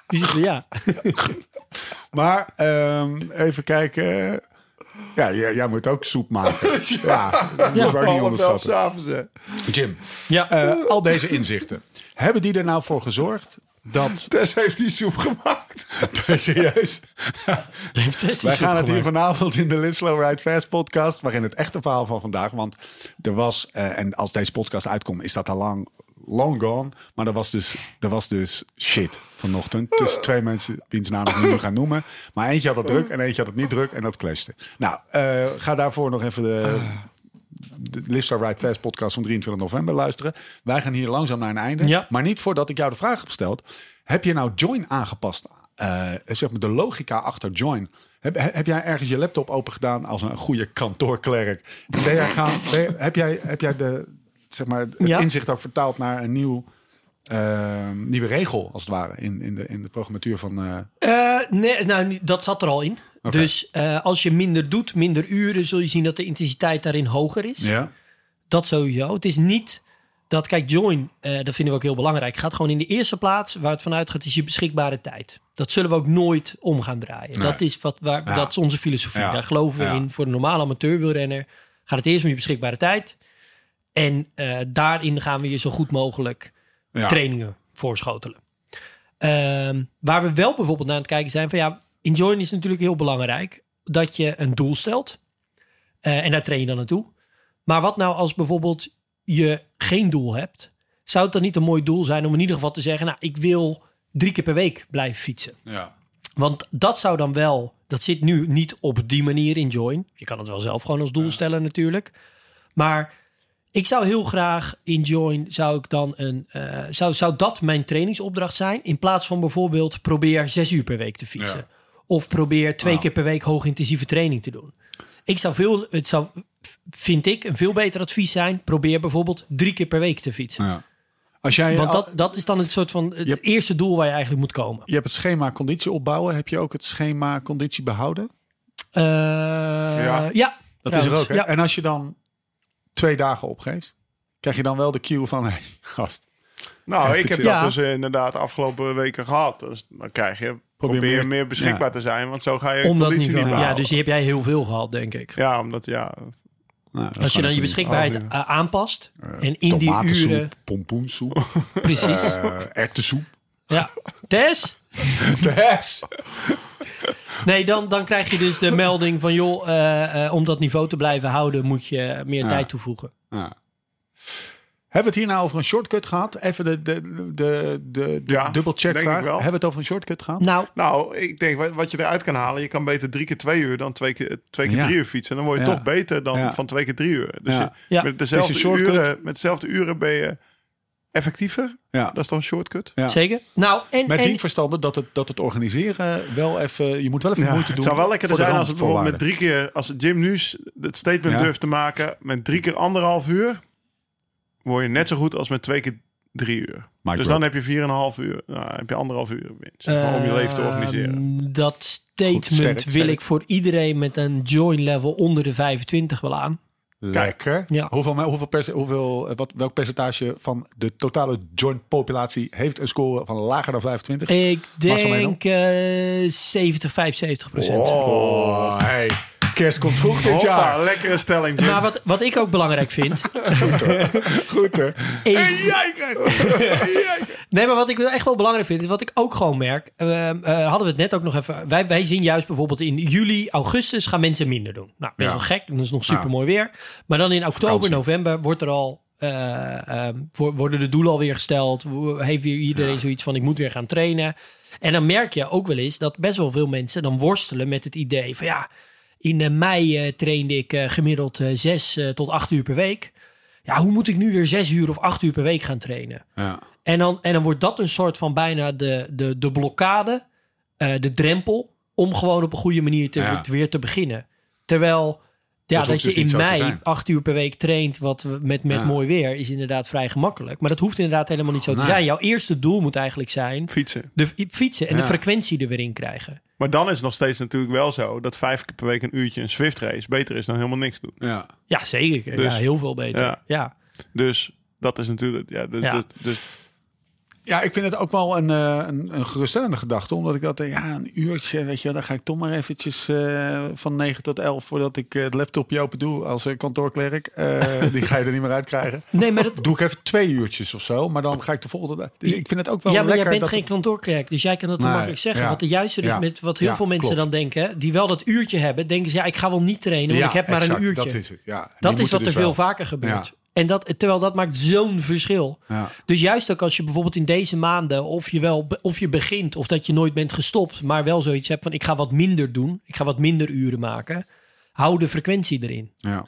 [SPEAKER 5] Die zegt, ja,
[SPEAKER 3] maar ehm, even kijken. Ja, jij, jij moet ook soep
[SPEAKER 5] <laughs>
[SPEAKER 3] maken. Ja, dat moeten we ook niet
[SPEAKER 4] Half elf
[SPEAKER 3] onderschatten.
[SPEAKER 4] Oh, s'avonds, hè.
[SPEAKER 3] Jim,
[SPEAKER 5] ja.
[SPEAKER 3] eh, al deze inzichten. Hebben die er nou voor gezorgd dat...
[SPEAKER 4] Tess heeft die soep gemaakt.
[SPEAKER 3] <laughs> Serieus?
[SPEAKER 5] heeft Tess die
[SPEAKER 3] Wij
[SPEAKER 5] soep
[SPEAKER 3] gaan het hier
[SPEAKER 5] gemaakt.
[SPEAKER 3] vanavond in de Live Slow Ride Fast podcast. Waarin het echte verhaal van vandaag. Want er was, eh, en als deze podcast uitkomt, is dat al lang, long gone. Maar er was dus, er was dus shit vanochtend. Tussen twee mensen, wiens naam ik nu niet ga noemen. Maar eentje had het druk en eentje had het niet druk. En dat clashte. Nou, eh, ga daarvoor nog even de, de Live Slow Ride Fast podcast van 23 november luisteren. Wij gaan hier langzaam naar een einde.
[SPEAKER 5] Ja.
[SPEAKER 3] Maar niet voordat ik jou de vraag heb gesteld. Heb je nou join aangepast? Eh, zeg maar de logica achter join. Heb, he- heb jij ergens je laptop open gedaan als een goede kantoorklerk? Ben jij gaan, <laughs> ben je- heb, jij, heb jij de, zeg maar, het
[SPEAKER 5] Ja.
[SPEAKER 3] inzicht ook vertaald naar een nieuw, eh, nieuwe regel, als het ware, in, in, de, in de programmatuur van... eh,
[SPEAKER 5] Eh, nee, nou, niet- dat zat er al in.
[SPEAKER 3] Oké.
[SPEAKER 5] Dus eh, als je minder doet, minder uren, zul je zien dat de intensiteit daarin hoger is.
[SPEAKER 3] ja.
[SPEAKER 5] Dat sowieso. Het is niet dat, kijk, join, eh, dat vinden we ook heel belangrijk. Gaat gewoon in de eerste plaats waar het vanuit gaat, is je beschikbare tijd. Dat zullen we ook nooit om gaan draaien. Dat, is wat, waar, dat is onze filosofie.
[SPEAKER 3] Ja.
[SPEAKER 5] Daar geloven we
[SPEAKER 3] Ja.
[SPEAKER 5] in. Voor een normale amateurwielrenner gaat het eerst om je beschikbare tijd. En eh, daarin gaan we je zo goed mogelijk
[SPEAKER 3] Ja.
[SPEAKER 5] trainingen voorschotelen. Ehm, waar we wel bijvoorbeeld naar aan het kijken zijn van ja, enjoyen is natuurlijk heel belangrijk. Dat je een doel stelt. Eh, en daar train je dan naartoe. Maar wat nou als bijvoorbeeld je geen doel hebt? Zou het dan niet een mooi doel zijn om in ieder geval te zeggen... nou, ik wil drie keer per week blijven fietsen.
[SPEAKER 3] Ja.
[SPEAKER 5] Want dat zou dan wel... Dat zit nu niet op die manier in Join. Je kan het wel zelf gewoon als doel stellen natuurlijk. Maar ik zou heel graag in Join... zou, ik dan een, eh, zou, zou dat mijn trainingsopdracht zijn... in plaats van bijvoorbeeld probeer zes uur per week te fietsen.
[SPEAKER 3] Ja.
[SPEAKER 5] Of probeer twee keer per week hoogintensieve training te doen. Ik zou veel, het zou, vind ik, een veel beter advies zijn. Probeer bijvoorbeeld drie keer per week te fietsen.
[SPEAKER 3] Ja. Als jij,
[SPEAKER 5] Want dat, dat is dan het soort van het
[SPEAKER 3] Je hebt-
[SPEAKER 5] eerste doel waar je eigenlijk moet komen.
[SPEAKER 3] je hebt het schema conditie opbouwen. Heb je ook het schema conditie behouden?
[SPEAKER 5] Eh, ja.
[SPEAKER 3] Dat is
[SPEAKER 5] trouwens.
[SPEAKER 3] er ook. Hè?
[SPEAKER 5] Ja.
[SPEAKER 3] En als je dan twee dagen opgeeft, krijg je dan wel de cue van <laughs> hey, gast.
[SPEAKER 4] Nou, ik heb
[SPEAKER 3] zit-
[SPEAKER 4] dat
[SPEAKER 5] Ja.
[SPEAKER 4] dus eh, inderdaad afgelopen weken gehad. Dus dan krijg je... Probeer,
[SPEAKER 3] meer-
[SPEAKER 4] meer, beschikbaar te zijn, want zo ga je
[SPEAKER 5] Om dat
[SPEAKER 4] conditie
[SPEAKER 5] niveau.
[SPEAKER 4] niet
[SPEAKER 5] Ja,
[SPEAKER 4] behalen.
[SPEAKER 5] dus die heb jij heel veel gehad, denk ik.
[SPEAKER 4] Ja, omdat ja,
[SPEAKER 3] Nou, dat
[SPEAKER 5] Als je
[SPEAKER 3] gaan we
[SPEAKER 5] dan je
[SPEAKER 3] doen.
[SPEAKER 5] beschikbaarheid
[SPEAKER 4] aflevering.
[SPEAKER 5] a- aanpast en in die
[SPEAKER 3] Oh, Tomatensoep,
[SPEAKER 5] uren...
[SPEAKER 3] pompoensoep,
[SPEAKER 5] <laughs> Precies.
[SPEAKER 3] eh erwtensoep.
[SPEAKER 5] Ja. Tess?
[SPEAKER 3] <laughs> Tess!
[SPEAKER 5] Nee, dan, dan krijg je dus de melding van... joh, eh, eh, om dat niveau te blijven houden moet je meer tijd toevoegen.
[SPEAKER 3] Ja. Hebben we het hier nou over een shortcut gehad? Even de, de, de, de, de
[SPEAKER 4] Ja,
[SPEAKER 3] dubbelcheck
[SPEAKER 4] denk
[SPEAKER 3] vraag.
[SPEAKER 4] ik wel.
[SPEAKER 3] Hebben we het over een shortcut gehad?
[SPEAKER 5] Nou,
[SPEAKER 4] Nou, ik denk wat- wat je eruit kan halen. Je kan beter drie keer twee uur dan twee keer, twee keer
[SPEAKER 3] Ja.
[SPEAKER 4] drie uur fietsen. Dan word je
[SPEAKER 3] Ja.
[SPEAKER 4] toch beter dan
[SPEAKER 3] Ja.
[SPEAKER 4] van twee keer drie uur. Dus
[SPEAKER 3] Ja.
[SPEAKER 4] je-
[SPEAKER 5] Ja.
[SPEAKER 4] met, dezelfde
[SPEAKER 3] Deze shortcut.
[SPEAKER 4] uren, met dezelfde uren ben je effectiever. Ah,
[SPEAKER 3] Ja.
[SPEAKER 4] Dat is dan een shortcut.
[SPEAKER 3] Ja.
[SPEAKER 5] zeker? Nou, en...
[SPEAKER 3] Met
[SPEAKER 5] en-
[SPEAKER 3] die verstanden dat het, dat het organiseren wel even... Je moet wel even moeite
[SPEAKER 4] het
[SPEAKER 3] doen.
[SPEAKER 4] zou wel lekkerder
[SPEAKER 3] voor de
[SPEAKER 4] zijn als het bijvoorbeeld met
[SPEAKER 3] randvoorwaarden.
[SPEAKER 4] drie keer... Als Jim nu s- het statement
[SPEAKER 3] Ja.
[SPEAKER 4] durft te maken met drie keer anderhalf uur... word je net zo goed als met twee keer drie uur.
[SPEAKER 3] Mic
[SPEAKER 4] dus dan heb je vier en een half uur. Nou, dan heb je anderhalf uur winst om je leven te organiseren.
[SPEAKER 5] Ehm, Dat statement
[SPEAKER 3] Goed, sterk,
[SPEAKER 5] wil
[SPEAKER 3] sterk.
[SPEAKER 5] ik voor iedereen met een join level onder de 25 wel aan.
[SPEAKER 3] Lekker.
[SPEAKER 5] Ja.
[SPEAKER 3] Hoeveel, hoeveel, perce- hoeveel, eh, wat, welk percentage van de totale joint populatie heeft een score van lager dan 25?
[SPEAKER 5] Ik
[SPEAKER 3] Marcel Meenel?
[SPEAKER 5] denk eh 70, 75 procent.
[SPEAKER 3] Oh, hey. Kerst komt vroeg dit
[SPEAKER 4] Hoppa,
[SPEAKER 3] jaar.
[SPEAKER 4] lekkere stelling, Jim.
[SPEAKER 5] Maar wat, wat ik ook belangrijk vind,
[SPEAKER 3] Goed, hè?
[SPEAKER 5] is...
[SPEAKER 4] Jij krijgt...
[SPEAKER 5] Nee, maar wat ik echt wel belangrijk vind, is wat ik ook gewoon merk. ehm, eh, hadden we het net ook nog even. Wij, wij zien juist bijvoorbeeld in juli, augustus gaan mensen minder doen. Nou, best
[SPEAKER 3] Ja.
[SPEAKER 5] wel gek. Dan is het nog super mooi weer. Maar dan in oktober,
[SPEAKER 3] Vakantie.
[SPEAKER 5] november wordt er al. eh, ehm, wo- worden de doelen alweer gesteld? Wo- Heeft weer iedereen zoiets van: ik moet weer gaan trainen? En dan merk je ook wel eens dat best wel veel mensen dan worstelen met het idee van ja. In eh, mei eh, trainde ik eh, gemiddeld eh, zes eh, tot acht uur per week. Ja, hoe moet ik nu weer zes uur of acht uur per week gaan trainen?
[SPEAKER 3] Ja.
[SPEAKER 5] En dan, en dan wordt dat een soort van bijna de, de, de blokkade, eh, de drempel, om gewoon op een goede manier te,
[SPEAKER 3] Ja.
[SPEAKER 5] weer te beginnen. Terwijl Ja,
[SPEAKER 3] Dat
[SPEAKER 5] dat,
[SPEAKER 3] hoeft
[SPEAKER 5] je
[SPEAKER 3] dus niet
[SPEAKER 5] in
[SPEAKER 3] zo te
[SPEAKER 5] mei
[SPEAKER 3] zijn.
[SPEAKER 5] acht uur per week traint wat we met, met
[SPEAKER 3] Ja.
[SPEAKER 5] mooi weer is inderdaad vrij gemakkelijk. Maar dat hoeft inderdaad helemaal niet zo te
[SPEAKER 3] Nee.
[SPEAKER 5] zijn. Jouw eerste doel moet eigenlijk zijn
[SPEAKER 4] Fietsen.
[SPEAKER 5] de f- fietsen en
[SPEAKER 3] Ja.
[SPEAKER 5] de frequentie er weer in krijgen.
[SPEAKER 4] Maar dan is het nog steeds natuurlijk wel zo dat vijf keer per week een uurtje een Swift race beter is dan helemaal niks doen.
[SPEAKER 3] Ja.
[SPEAKER 5] Ja, zeker.
[SPEAKER 4] Dus-
[SPEAKER 5] ja, heel veel beter.
[SPEAKER 4] Ja.
[SPEAKER 5] Ja.
[SPEAKER 4] Dus dat is natuurlijk. Ja, dus,
[SPEAKER 5] Ja.
[SPEAKER 4] dus- dus-
[SPEAKER 3] Ja, ik vind het ook wel een, eh, een, een geruststellende gedachte. Omdat ik dat, eh, ja, een uurtje, weet je wel, dan ga ik toch maar eventjes eh, van 9 tot 11 voordat ik eh, het laptopje open doe als eh, kantoorklerk.
[SPEAKER 5] <laughs>
[SPEAKER 3] Eh, die ga je er niet meer uit krijgen.
[SPEAKER 5] Nee, maar dat,
[SPEAKER 3] Doe ik even twee uurtjes of zo, maar dan ga ik de volgende dag. Dus ik vind het ook wel
[SPEAKER 5] ja, maar jij
[SPEAKER 3] lekker.
[SPEAKER 5] bent
[SPEAKER 3] dat
[SPEAKER 5] geen kantoorklerk, dus jij kan dat wel
[SPEAKER 3] Nee,
[SPEAKER 5] makkelijk zeggen.
[SPEAKER 3] ja.
[SPEAKER 5] Wat de juiste is
[SPEAKER 3] Ja.
[SPEAKER 5] met wat heel
[SPEAKER 3] Ja,
[SPEAKER 5] veel mensen
[SPEAKER 3] klopt.
[SPEAKER 5] dan denken, die wel dat uurtje hebben, denken ze ja, ik ga wel niet trainen, want
[SPEAKER 3] Ja,
[SPEAKER 5] ik heb maar
[SPEAKER 3] exact,
[SPEAKER 5] een uurtje.
[SPEAKER 3] Dat is het, ja. En die
[SPEAKER 5] Dat is
[SPEAKER 3] moeten
[SPEAKER 5] wat er
[SPEAKER 3] dus
[SPEAKER 5] veel
[SPEAKER 3] wel.
[SPEAKER 5] vaker gebeurt.
[SPEAKER 3] Ja.
[SPEAKER 5] En dat, terwijl dat maakt zo'n verschil.
[SPEAKER 3] Ja.
[SPEAKER 5] Dus juist ook als je bijvoorbeeld in deze maanden of je, wel, of je begint of dat je nooit bent gestopt, maar wel zoiets hebt van ik ga wat minder doen, ik ga wat minder uren maken, hou de frequentie erin.
[SPEAKER 3] Ja.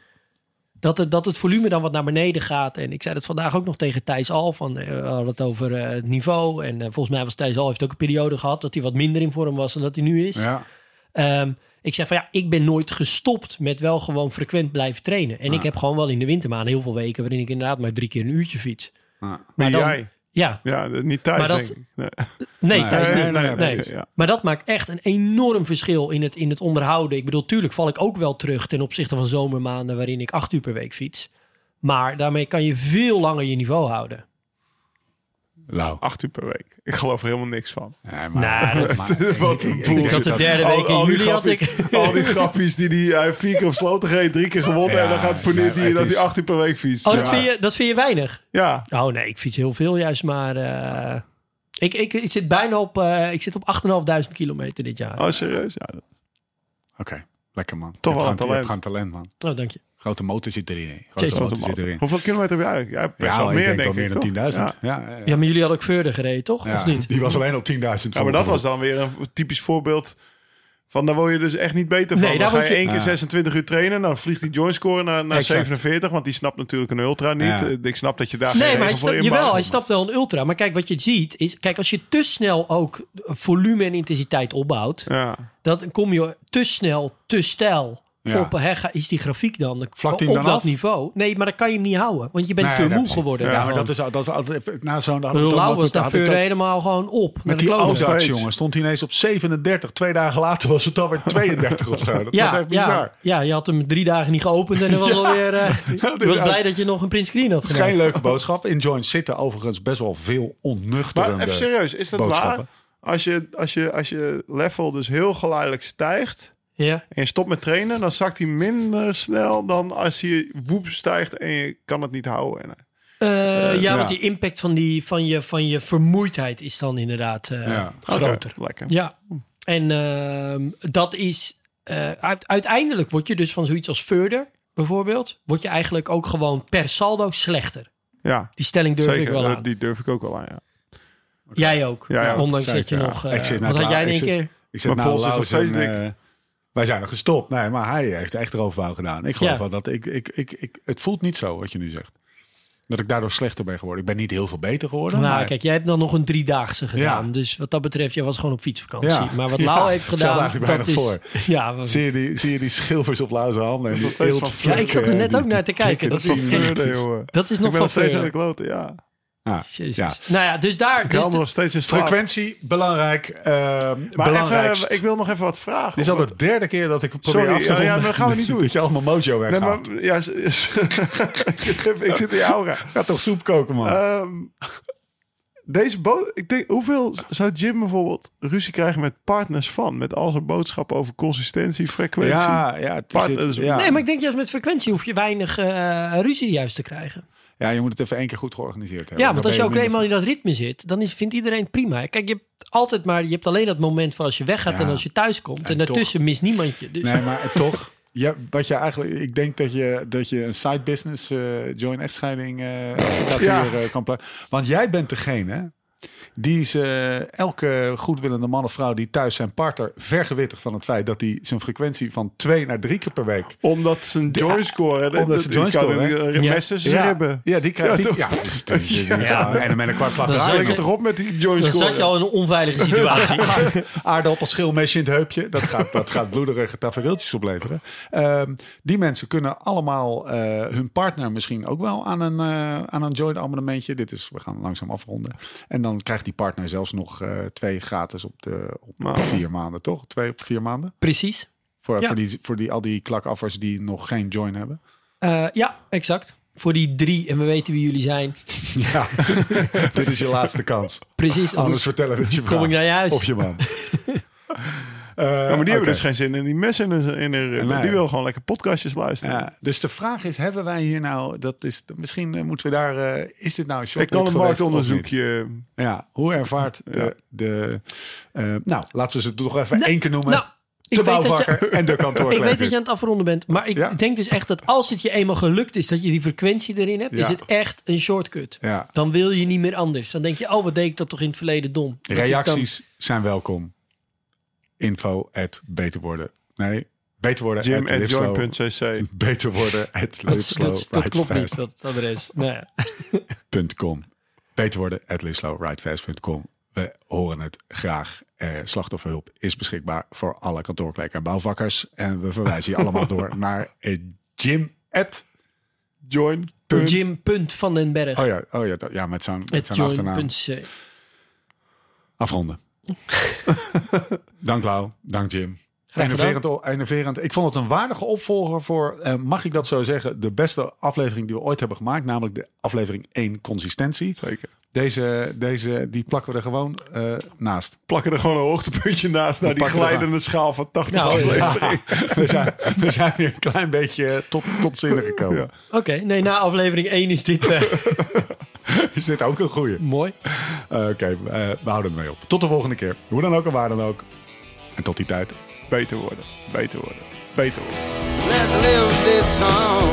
[SPEAKER 5] Dat het, dat het volume dan wat naar beneden gaat. En ik zei dat vandaag ook nog tegen Thijs Al. Van, eh, we hadden het over eh, het niveau. En eh, volgens mij was Thijs Al heeft ook een periode gehad dat hij wat minder in vorm was dan dat hij nu is.
[SPEAKER 3] Ja.
[SPEAKER 5] Ehm, ik zeg van ja, ik ben nooit gestopt met wel gewoon frequent blijven trainen. En ik heb gewoon wel in de wintermaanden heel veel weken waarin ik inderdaad maar drie keer een uurtje fiets.
[SPEAKER 4] maar
[SPEAKER 5] dan-
[SPEAKER 4] jij.
[SPEAKER 5] Ja,
[SPEAKER 4] Ja, niet thuis,
[SPEAKER 5] Maar dat-
[SPEAKER 4] denk ik. Nee.
[SPEAKER 5] nee, Thijs
[SPEAKER 3] nee,
[SPEAKER 5] niet.
[SPEAKER 3] nee,
[SPEAKER 5] Nee,
[SPEAKER 3] nee,
[SPEAKER 4] precies, ja.
[SPEAKER 5] Maar dat maakt echt een enorm verschil in het, in het onderhouden. Ik bedoel, tuurlijk val ik ook wel terug ten opzichte van zomermaanden waarin ik acht uur per week fiets. Maar daarmee kan je veel langer je niveau houden.
[SPEAKER 3] Lau.
[SPEAKER 4] Acht uur per week. Ik geloof er helemaal niks van.
[SPEAKER 3] Nee, <laughs>
[SPEAKER 5] Nou,
[SPEAKER 4] <laughs>
[SPEAKER 5] dat-
[SPEAKER 4] Wat een
[SPEAKER 3] denk
[SPEAKER 5] Ik had de derde
[SPEAKER 4] Al-
[SPEAKER 5] week in
[SPEAKER 4] al die
[SPEAKER 5] juli had
[SPEAKER 4] grappie-
[SPEAKER 5] ik.
[SPEAKER 4] Al die grappies die die hij vier keer op sloten reed, drie keer gewonnen.
[SPEAKER 3] Ja,
[SPEAKER 4] en dan gaat
[SPEAKER 3] nee,
[SPEAKER 4] Poneert
[SPEAKER 3] het
[SPEAKER 4] hier dat
[SPEAKER 3] is-
[SPEAKER 4] hij acht uur per week fietst.
[SPEAKER 5] Oh,
[SPEAKER 4] ja.
[SPEAKER 5] dat vind, je, dat vind je weinig?
[SPEAKER 4] Ja.
[SPEAKER 5] Oh nee, ik fiets heel veel juist, maar eh, ik, ik, ik zit bijna op, eh, ik zit op 8.500 kilometer dit jaar.
[SPEAKER 4] Oh, serieus? Ja, dat-
[SPEAKER 3] Oké, lekker man.
[SPEAKER 4] Toch
[SPEAKER 3] Je hebt
[SPEAKER 4] wel
[SPEAKER 3] gewoon-
[SPEAKER 4] een
[SPEAKER 3] Je hebt
[SPEAKER 4] talent.
[SPEAKER 3] gewoon talent, man.
[SPEAKER 5] Oh, dank je.
[SPEAKER 3] Grote motor zit erin.
[SPEAKER 5] Jezus,
[SPEAKER 3] Grote
[SPEAKER 5] wat
[SPEAKER 3] motor zit erin.
[SPEAKER 4] Hoeveel kilometer heb je eigenlijk? Ja, best
[SPEAKER 3] Ja,
[SPEAKER 4] wel
[SPEAKER 3] ik
[SPEAKER 4] meer,
[SPEAKER 3] denk wel
[SPEAKER 4] denk
[SPEAKER 3] meer
[SPEAKER 4] ik,
[SPEAKER 3] dan 10.000.
[SPEAKER 4] toch? Ja.
[SPEAKER 3] Ja, ja, ja.
[SPEAKER 5] Ja, maar jullie hadden ook verder gereden, toch?
[SPEAKER 3] Ja,
[SPEAKER 5] Of niet?
[SPEAKER 3] Die was alleen op 10.000.
[SPEAKER 4] Ja, maar dat was dan weer een typisch voorbeeld van daar word je dus echt niet beter van.
[SPEAKER 5] Nee,
[SPEAKER 4] dan
[SPEAKER 5] daar
[SPEAKER 4] ga je
[SPEAKER 5] word je-
[SPEAKER 4] één keer 26 uur trainen, dan vliegt die joint score naar, naar
[SPEAKER 5] Exact.
[SPEAKER 4] 47, want die snapt natuurlijk een ultra niet.
[SPEAKER 3] Ja.
[SPEAKER 4] Eh, Ik snap dat je daar geen
[SPEAKER 5] Nee, maar hij
[SPEAKER 4] regel voor
[SPEAKER 5] snapt,
[SPEAKER 4] inbouwt.
[SPEAKER 5] jawel, hij snapt wel een ultra. Maar kijk, wat je ziet is... Kijk, als je te snel ook volume en intensiteit opbouwt...
[SPEAKER 4] Ja.
[SPEAKER 5] dan kom je te snel, te stijl
[SPEAKER 3] Ja.
[SPEAKER 5] op... Hè, ga- is die grafiek dan
[SPEAKER 3] Vlakt
[SPEAKER 5] op
[SPEAKER 3] hij hem
[SPEAKER 5] dat
[SPEAKER 3] dan af?
[SPEAKER 5] niveau? Nee, maar dan kan je hem niet houden. Want je bent
[SPEAKER 3] Nee,
[SPEAKER 5] te
[SPEAKER 3] dat
[SPEAKER 5] moe
[SPEAKER 3] precies.
[SPEAKER 5] geworden.
[SPEAKER 3] Ja, maar
[SPEAKER 5] daarvan.
[SPEAKER 3] dat is, al- dat is altijd na zo'n dag.
[SPEAKER 5] Ik bedoel, Lau was daar
[SPEAKER 3] had ik dat-
[SPEAKER 5] verder helemaal gewoon op. naar
[SPEAKER 3] Met
[SPEAKER 5] de
[SPEAKER 3] die
[SPEAKER 5] kloten.
[SPEAKER 3] Oostenrijks,
[SPEAKER 4] Steeds.
[SPEAKER 3] jongen, stond hij ineens op 37. Twee dagen later was het dan weer 32 of zo. Dat was echt bizar.
[SPEAKER 5] Ja, ja, je had hem drie dagen niet geopend en dan
[SPEAKER 3] <laughs>
[SPEAKER 5] was alweer. eh, je was
[SPEAKER 3] ook-
[SPEAKER 5] blij dat je nog een print screen had
[SPEAKER 3] Het is geen
[SPEAKER 5] gemaakt.
[SPEAKER 3] leuke boodschap. In joints zitten overigens best wel veel onnuchterende
[SPEAKER 4] Maar even serieus, is dat waar?
[SPEAKER 3] boodschappen.
[SPEAKER 4] Als je, als, je, als je level dus heel geleidelijk stijgt
[SPEAKER 5] Ja.
[SPEAKER 4] en je stopt met trainen, dan zakt hij minder snel dan als je woep stijgt en je kan het niet houden. En, eh,
[SPEAKER 5] Eh, ja,
[SPEAKER 3] ja.
[SPEAKER 5] want die impact van, die, van, je, van je vermoeidheid is dan inderdaad eh,
[SPEAKER 3] Ja.
[SPEAKER 5] groter.
[SPEAKER 4] Oké, lekker.
[SPEAKER 5] Ja, en ehm, dat is. eh, uit- uiteindelijk word je dus van zoiets als further bijvoorbeeld. Word je eigenlijk ook gewoon per saldo slechter.
[SPEAKER 4] Ja,
[SPEAKER 5] Die stelling durf
[SPEAKER 4] zeker.
[SPEAKER 5] ik wel
[SPEAKER 4] Eh,
[SPEAKER 5] aan.
[SPEAKER 4] Die durf ik ook wel aan, ja.
[SPEAKER 5] Jij ook.
[SPEAKER 4] Ja, ja,
[SPEAKER 5] Ondanks
[SPEAKER 3] zeker,
[SPEAKER 5] dat je
[SPEAKER 3] ja.
[SPEAKER 5] nog. eh,
[SPEAKER 3] Ik zit net
[SPEAKER 5] wat
[SPEAKER 3] laat-
[SPEAKER 5] had jij in
[SPEAKER 3] ik
[SPEAKER 5] één
[SPEAKER 3] zit-
[SPEAKER 5] keer?
[SPEAKER 3] Ik zeg,
[SPEAKER 4] Mijn
[SPEAKER 3] nou,
[SPEAKER 4] pols is
[SPEAKER 3] Lau
[SPEAKER 4] nog
[SPEAKER 3] is een,
[SPEAKER 4] steeds dik.
[SPEAKER 3] eh, wij zijn er gestopt. Nee, maar hij heeft echt roofbouw gedaan. Ik geloof
[SPEAKER 5] Ja.
[SPEAKER 3] wel dat ik, ik, ik, ik... Het voelt niet zo, wat je nu zegt. Dat ik daardoor slechter ben geworden. Ik ben niet heel veel beter geworden.
[SPEAKER 5] Nou,
[SPEAKER 3] maar-
[SPEAKER 5] kijk, jij hebt dan nog een driedaagse gedaan.
[SPEAKER 3] Ja.
[SPEAKER 5] Dus wat dat betreft, jij was gewoon op fietsvakantie.
[SPEAKER 3] Ja.
[SPEAKER 5] Maar wat
[SPEAKER 3] Ja,
[SPEAKER 5] Lau heeft
[SPEAKER 3] staat
[SPEAKER 5] gedaan,
[SPEAKER 3] eigenlijk
[SPEAKER 5] dat is...
[SPEAKER 3] weinig
[SPEAKER 5] <laughs> Ja, we-
[SPEAKER 3] Zie je die, zie je die schilfers op Lauwse handen? En die
[SPEAKER 4] steeds van-
[SPEAKER 5] ja, ik zat er net ook naar te kijken. Dat
[SPEAKER 3] tikken,
[SPEAKER 5] is,
[SPEAKER 3] dat die-
[SPEAKER 5] echt,
[SPEAKER 4] Further, jongen.
[SPEAKER 5] dat is
[SPEAKER 4] Ik
[SPEAKER 5] nog
[SPEAKER 4] ben nog
[SPEAKER 5] van
[SPEAKER 4] steeds aan de
[SPEAKER 5] ver.
[SPEAKER 4] kloten, ja.
[SPEAKER 3] Ja.
[SPEAKER 5] Jezus.
[SPEAKER 3] Ja.
[SPEAKER 5] Nou ja, dus daar...
[SPEAKER 4] Ik haal
[SPEAKER 5] Dus
[SPEAKER 4] me nog steeds in slaap.
[SPEAKER 3] Frequentie, belangrijk. ehm
[SPEAKER 4] Maar
[SPEAKER 3] belangrijkst.
[SPEAKER 4] even, eh, ik wil nog even wat vragen.
[SPEAKER 3] Dit is al de derde keer dat ik het probeer
[SPEAKER 4] Sorry, oh
[SPEAKER 3] af te
[SPEAKER 4] ja, ja,
[SPEAKER 3] ronden.
[SPEAKER 4] dat gaan we niet doen.
[SPEAKER 3] Dat je allemaal mojo
[SPEAKER 4] Nee,
[SPEAKER 3] weghaalt.
[SPEAKER 4] maar, ja, s- s- <laughs> ik, zit, even- ik zit in je aura.
[SPEAKER 3] Ga toch soep koken, man.
[SPEAKER 4] Ehm, deze boot, ik denk, hoeveel zou Jim bijvoorbeeld ruzie krijgen met partners van? Met al zijn boodschappen over consistentie, frequentie.
[SPEAKER 3] ja, ja, het
[SPEAKER 4] Part-
[SPEAKER 3] zit-
[SPEAKER 4] dat is-
[SPEAKER 3] ja.
[SPEAKER 5] nee, maar ik denk juist met frequentie hoef je weinig eh, ruzie juist te krijgen.
[SPEAKER 3] ja, je moet het even één keer goed georganiseerd hebben.
[SPEAKER 5] Ja, want
[SPEAKER 3] Dan
[SPEAKER 5] als je
[SPEAKER 3] ben
[SPEAKER 5] ook eenmaal in
[SPEAKER 3] minder
[SPEAKER 5] dat ritme zit, dan is, vindt iedereen het prima. Kijk, je hebt altijd maar... Je hebt alleen dat moment van als je weggaat
[SPEAKER 3] Ja.
[SPEAKER 5] en als je thuis komt. En,
[SPEAKER 3] En
[SPEAKER 5] daartussen mist niemand je. Dus,
[SPEAKER 3] van- Nee, maar toch. Ja, wat je eigenlijk, ik denk dat je, dat je een side business eh joint echtscheiding eh advocatuur,
[SPEAKER 4] Ja.
[SPEAKER 3] eh, kan plaatsen. Want jij bent degene Die is eh, elke goedwillende man of vrouw die thuis zijn partner vergewittigd van het feit dat hij zijn frequentie van twee naar drie keer per week.
[SPEAKER 4] Omdat ze een joyscore hebben.
[SPEAKER 3] omdat ze joyscore hebben.
[SPEAKER 4] hebben. Messen ze hebben.
[SPEAKER 3] ja, die krijgt
[SPEAKER 4] Ja,
[SPEAKER 3] die,
[SPEAKER 4] toch?
[SPEAKER 3] ja, dus die- die- die- En dan met een kwart slag
[SPEAKER 5] Dan
[SPEAKER 3] de
[SPEAKER 5] zat
[SPEAKER 3] haring
[SPEAKER 5] je-
[SPEAKER 3] op
[SPEAKER 4] Toch op met die
[SPEAKER 5] Dan
[SPEAKER 4] joyscore.
[SPEAKER 5] zat je al in een onveilige situatie.
[SPEAKER 3] <laughs> aardappelschilmesje in het heupje. Dat gaat, dat gaat bloederige tafereeltjes opleveren. Ehm, die mensen kunnen allemaal eh, hun partner misschien ook wel aan een, eh, aan een joint abonnementje. Dit is, we gaan langzaam afronden. En dan krijgt die partner zelfs nog eh, twee gratis op de op vier maanden, toch? Twee op vier maanden.
[SPEAKER 5] Precies.
[SPEAKER 3] Voor,
[SPEAKER 5] Ja.
[SPEAKER 3] voor, die, voor die, al die klakaffers die nog geen join hebben.
[SPEAKER 5] Eh, ja, exact. Voor die drie, en we weten wie jullie zijn.
[SPEAKER 3] Ja, <laughs> dit is je laatste kans.
[SPEAKER 5] Precies.
[SPEAKER 3] Anders vertellen we het je
[SPEAKER 5] <laughs> kom
[SPEAKER 3] vrouw
[SPEAKER 5] ik naar je huis.
[SPEAKER 3] Of je
[SPEAKER 5] <laughs>
[SPEAKER 3] man.
[SPEAKER 4] Ja, maar die hebben
[SPEAKER 3] Oké.
[SPEAKER 4] dus geen zin in die messen. In hun- in hun ribben.
[SPEAKER 3] Nee.
[SPEAKER 4] Die wil gewoon lekker podcastjes luisteren.
[SPEAKER 3] Ja, dus de vraag is, hebben wij hier nou, dat is, misschien eh, moeten we daar, eh, is dit nou een short
[SPEAKER 4] Ik kan
[SPEAKER 3] week
[SPEAKER 4] een
[SPEAKER 3] geweest of
[SPEAKER 4] marktonderzoekje.
[SPEAKER 3] niet? Ja, hoe ervaart de, de eh, nou, laten we ze toch even één keer noemen.
[SPEAKER 5] nou, ik
[SPEAKER 3] de
[SPEAKER 5] weet dat je-
[SPEAKER 3] <laughs> bouwvakker en de
[SPEAKER 5] <laughs> Ik weet
[SPEAKER 3] kantoorkleed.
[SPEAKER 5] dat je aan het afronden bent, maar ik
[SPEAKER 3] Ja.
[SPEAKER 5] denk dus echt dat als het je eenmaal gelukt is dat je die frequentie erin hebt,
[SPEAKER 3] Ja.
[SPEAKER 5] is het echt een shortcut.
[SPEAKER 3] Ja.
[SPEAKER 5] Dan wil je niet meer anders. Dan denk je, oh, wat deed ik dat toch in het verleden dom? Dat je
[SPEAKER 3] Reacties zijn welkom. Info at beter worden. Nee, beter worden
[SPEAKER 4] Jim
[SPEAKER 3] at
[SPEAKER 4] at
[SPEAKER 3] Lipslow.
[SPEAKER 4] join.cc.
[SPEAKER 3] Beter worden at
[SPEAKER 5] dan- Dat, dat, dat, klopt niet,
[SPEAKER 3] lipslowridefast.com.
[SPEAKER 5] dat adres. Nou ja.
[SPEAKER 3] Beter worden at lipslowridefast.com. We horen het graag. Eh, slachtofferhulp is beschikbaar voor alle kantoorkleker en bouwvakkers. En we verwijzen je allemaal door naar eh, Jim at...
[SPEAKER 4] Join.
[SPEAKER 5] Jim punt van den Berg.
[SPEAKER 3] Oh ja, oh ja, dat- ja met zo'n met
[SPEAKER 5] Het
[SPEAKER 3] zo'n achternaam.
[SPEAKER 5] join.cc.
[SPEAKER 3] Afronden. dank Lau, dank Jim. Enerverend, enerverend. Ik vond het een waardige opvolger voor, eh, mag ik dat zo zeggen, de beste aflevering die we ooit hebben gemaakt. Namelijk de aflevering 1, consistentie.
[SPEAKER 4] Zeker.
[SPEAKER 3] Deze, deze die plakken we er gewoon eh, <laughs> naast.
[SPEAKER 4] Plakken er gewoon een hoogtepuntje naast naar die
[SPEAKER 3] pakken er
[SPEAKER 4] glijdende schaal van 80
[SPEAKER 5] Nou, ja.
[SPEAKER 4] afleveringen.
[SPEAKER 3] We zijn, we zijn weer een klein beetje eh, tot, tot zinnen gekomen.
[SPEAKER 5] Oké, nee, na aflevering 1 is dit eh, <laughs>
[SPEAKER 3] Is dit ook een goeie?
[SPEAKER 5] mooi.
[SPEAKER 3] Eh, Oké, eh, we houden ermee op. Tot de volgende keer. Hoe dan ook en waar dan ook. En tot die tijd.
[SPEAKER 4] <laughs> Beter worden. Beter worden. Beter worden.
[SPEAKER 2] Let's live this song.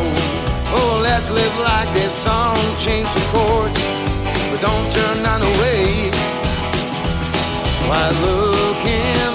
[SPEAKER 2] Oh, let's live like this song. Change some chords, but don't turn none away. Why looking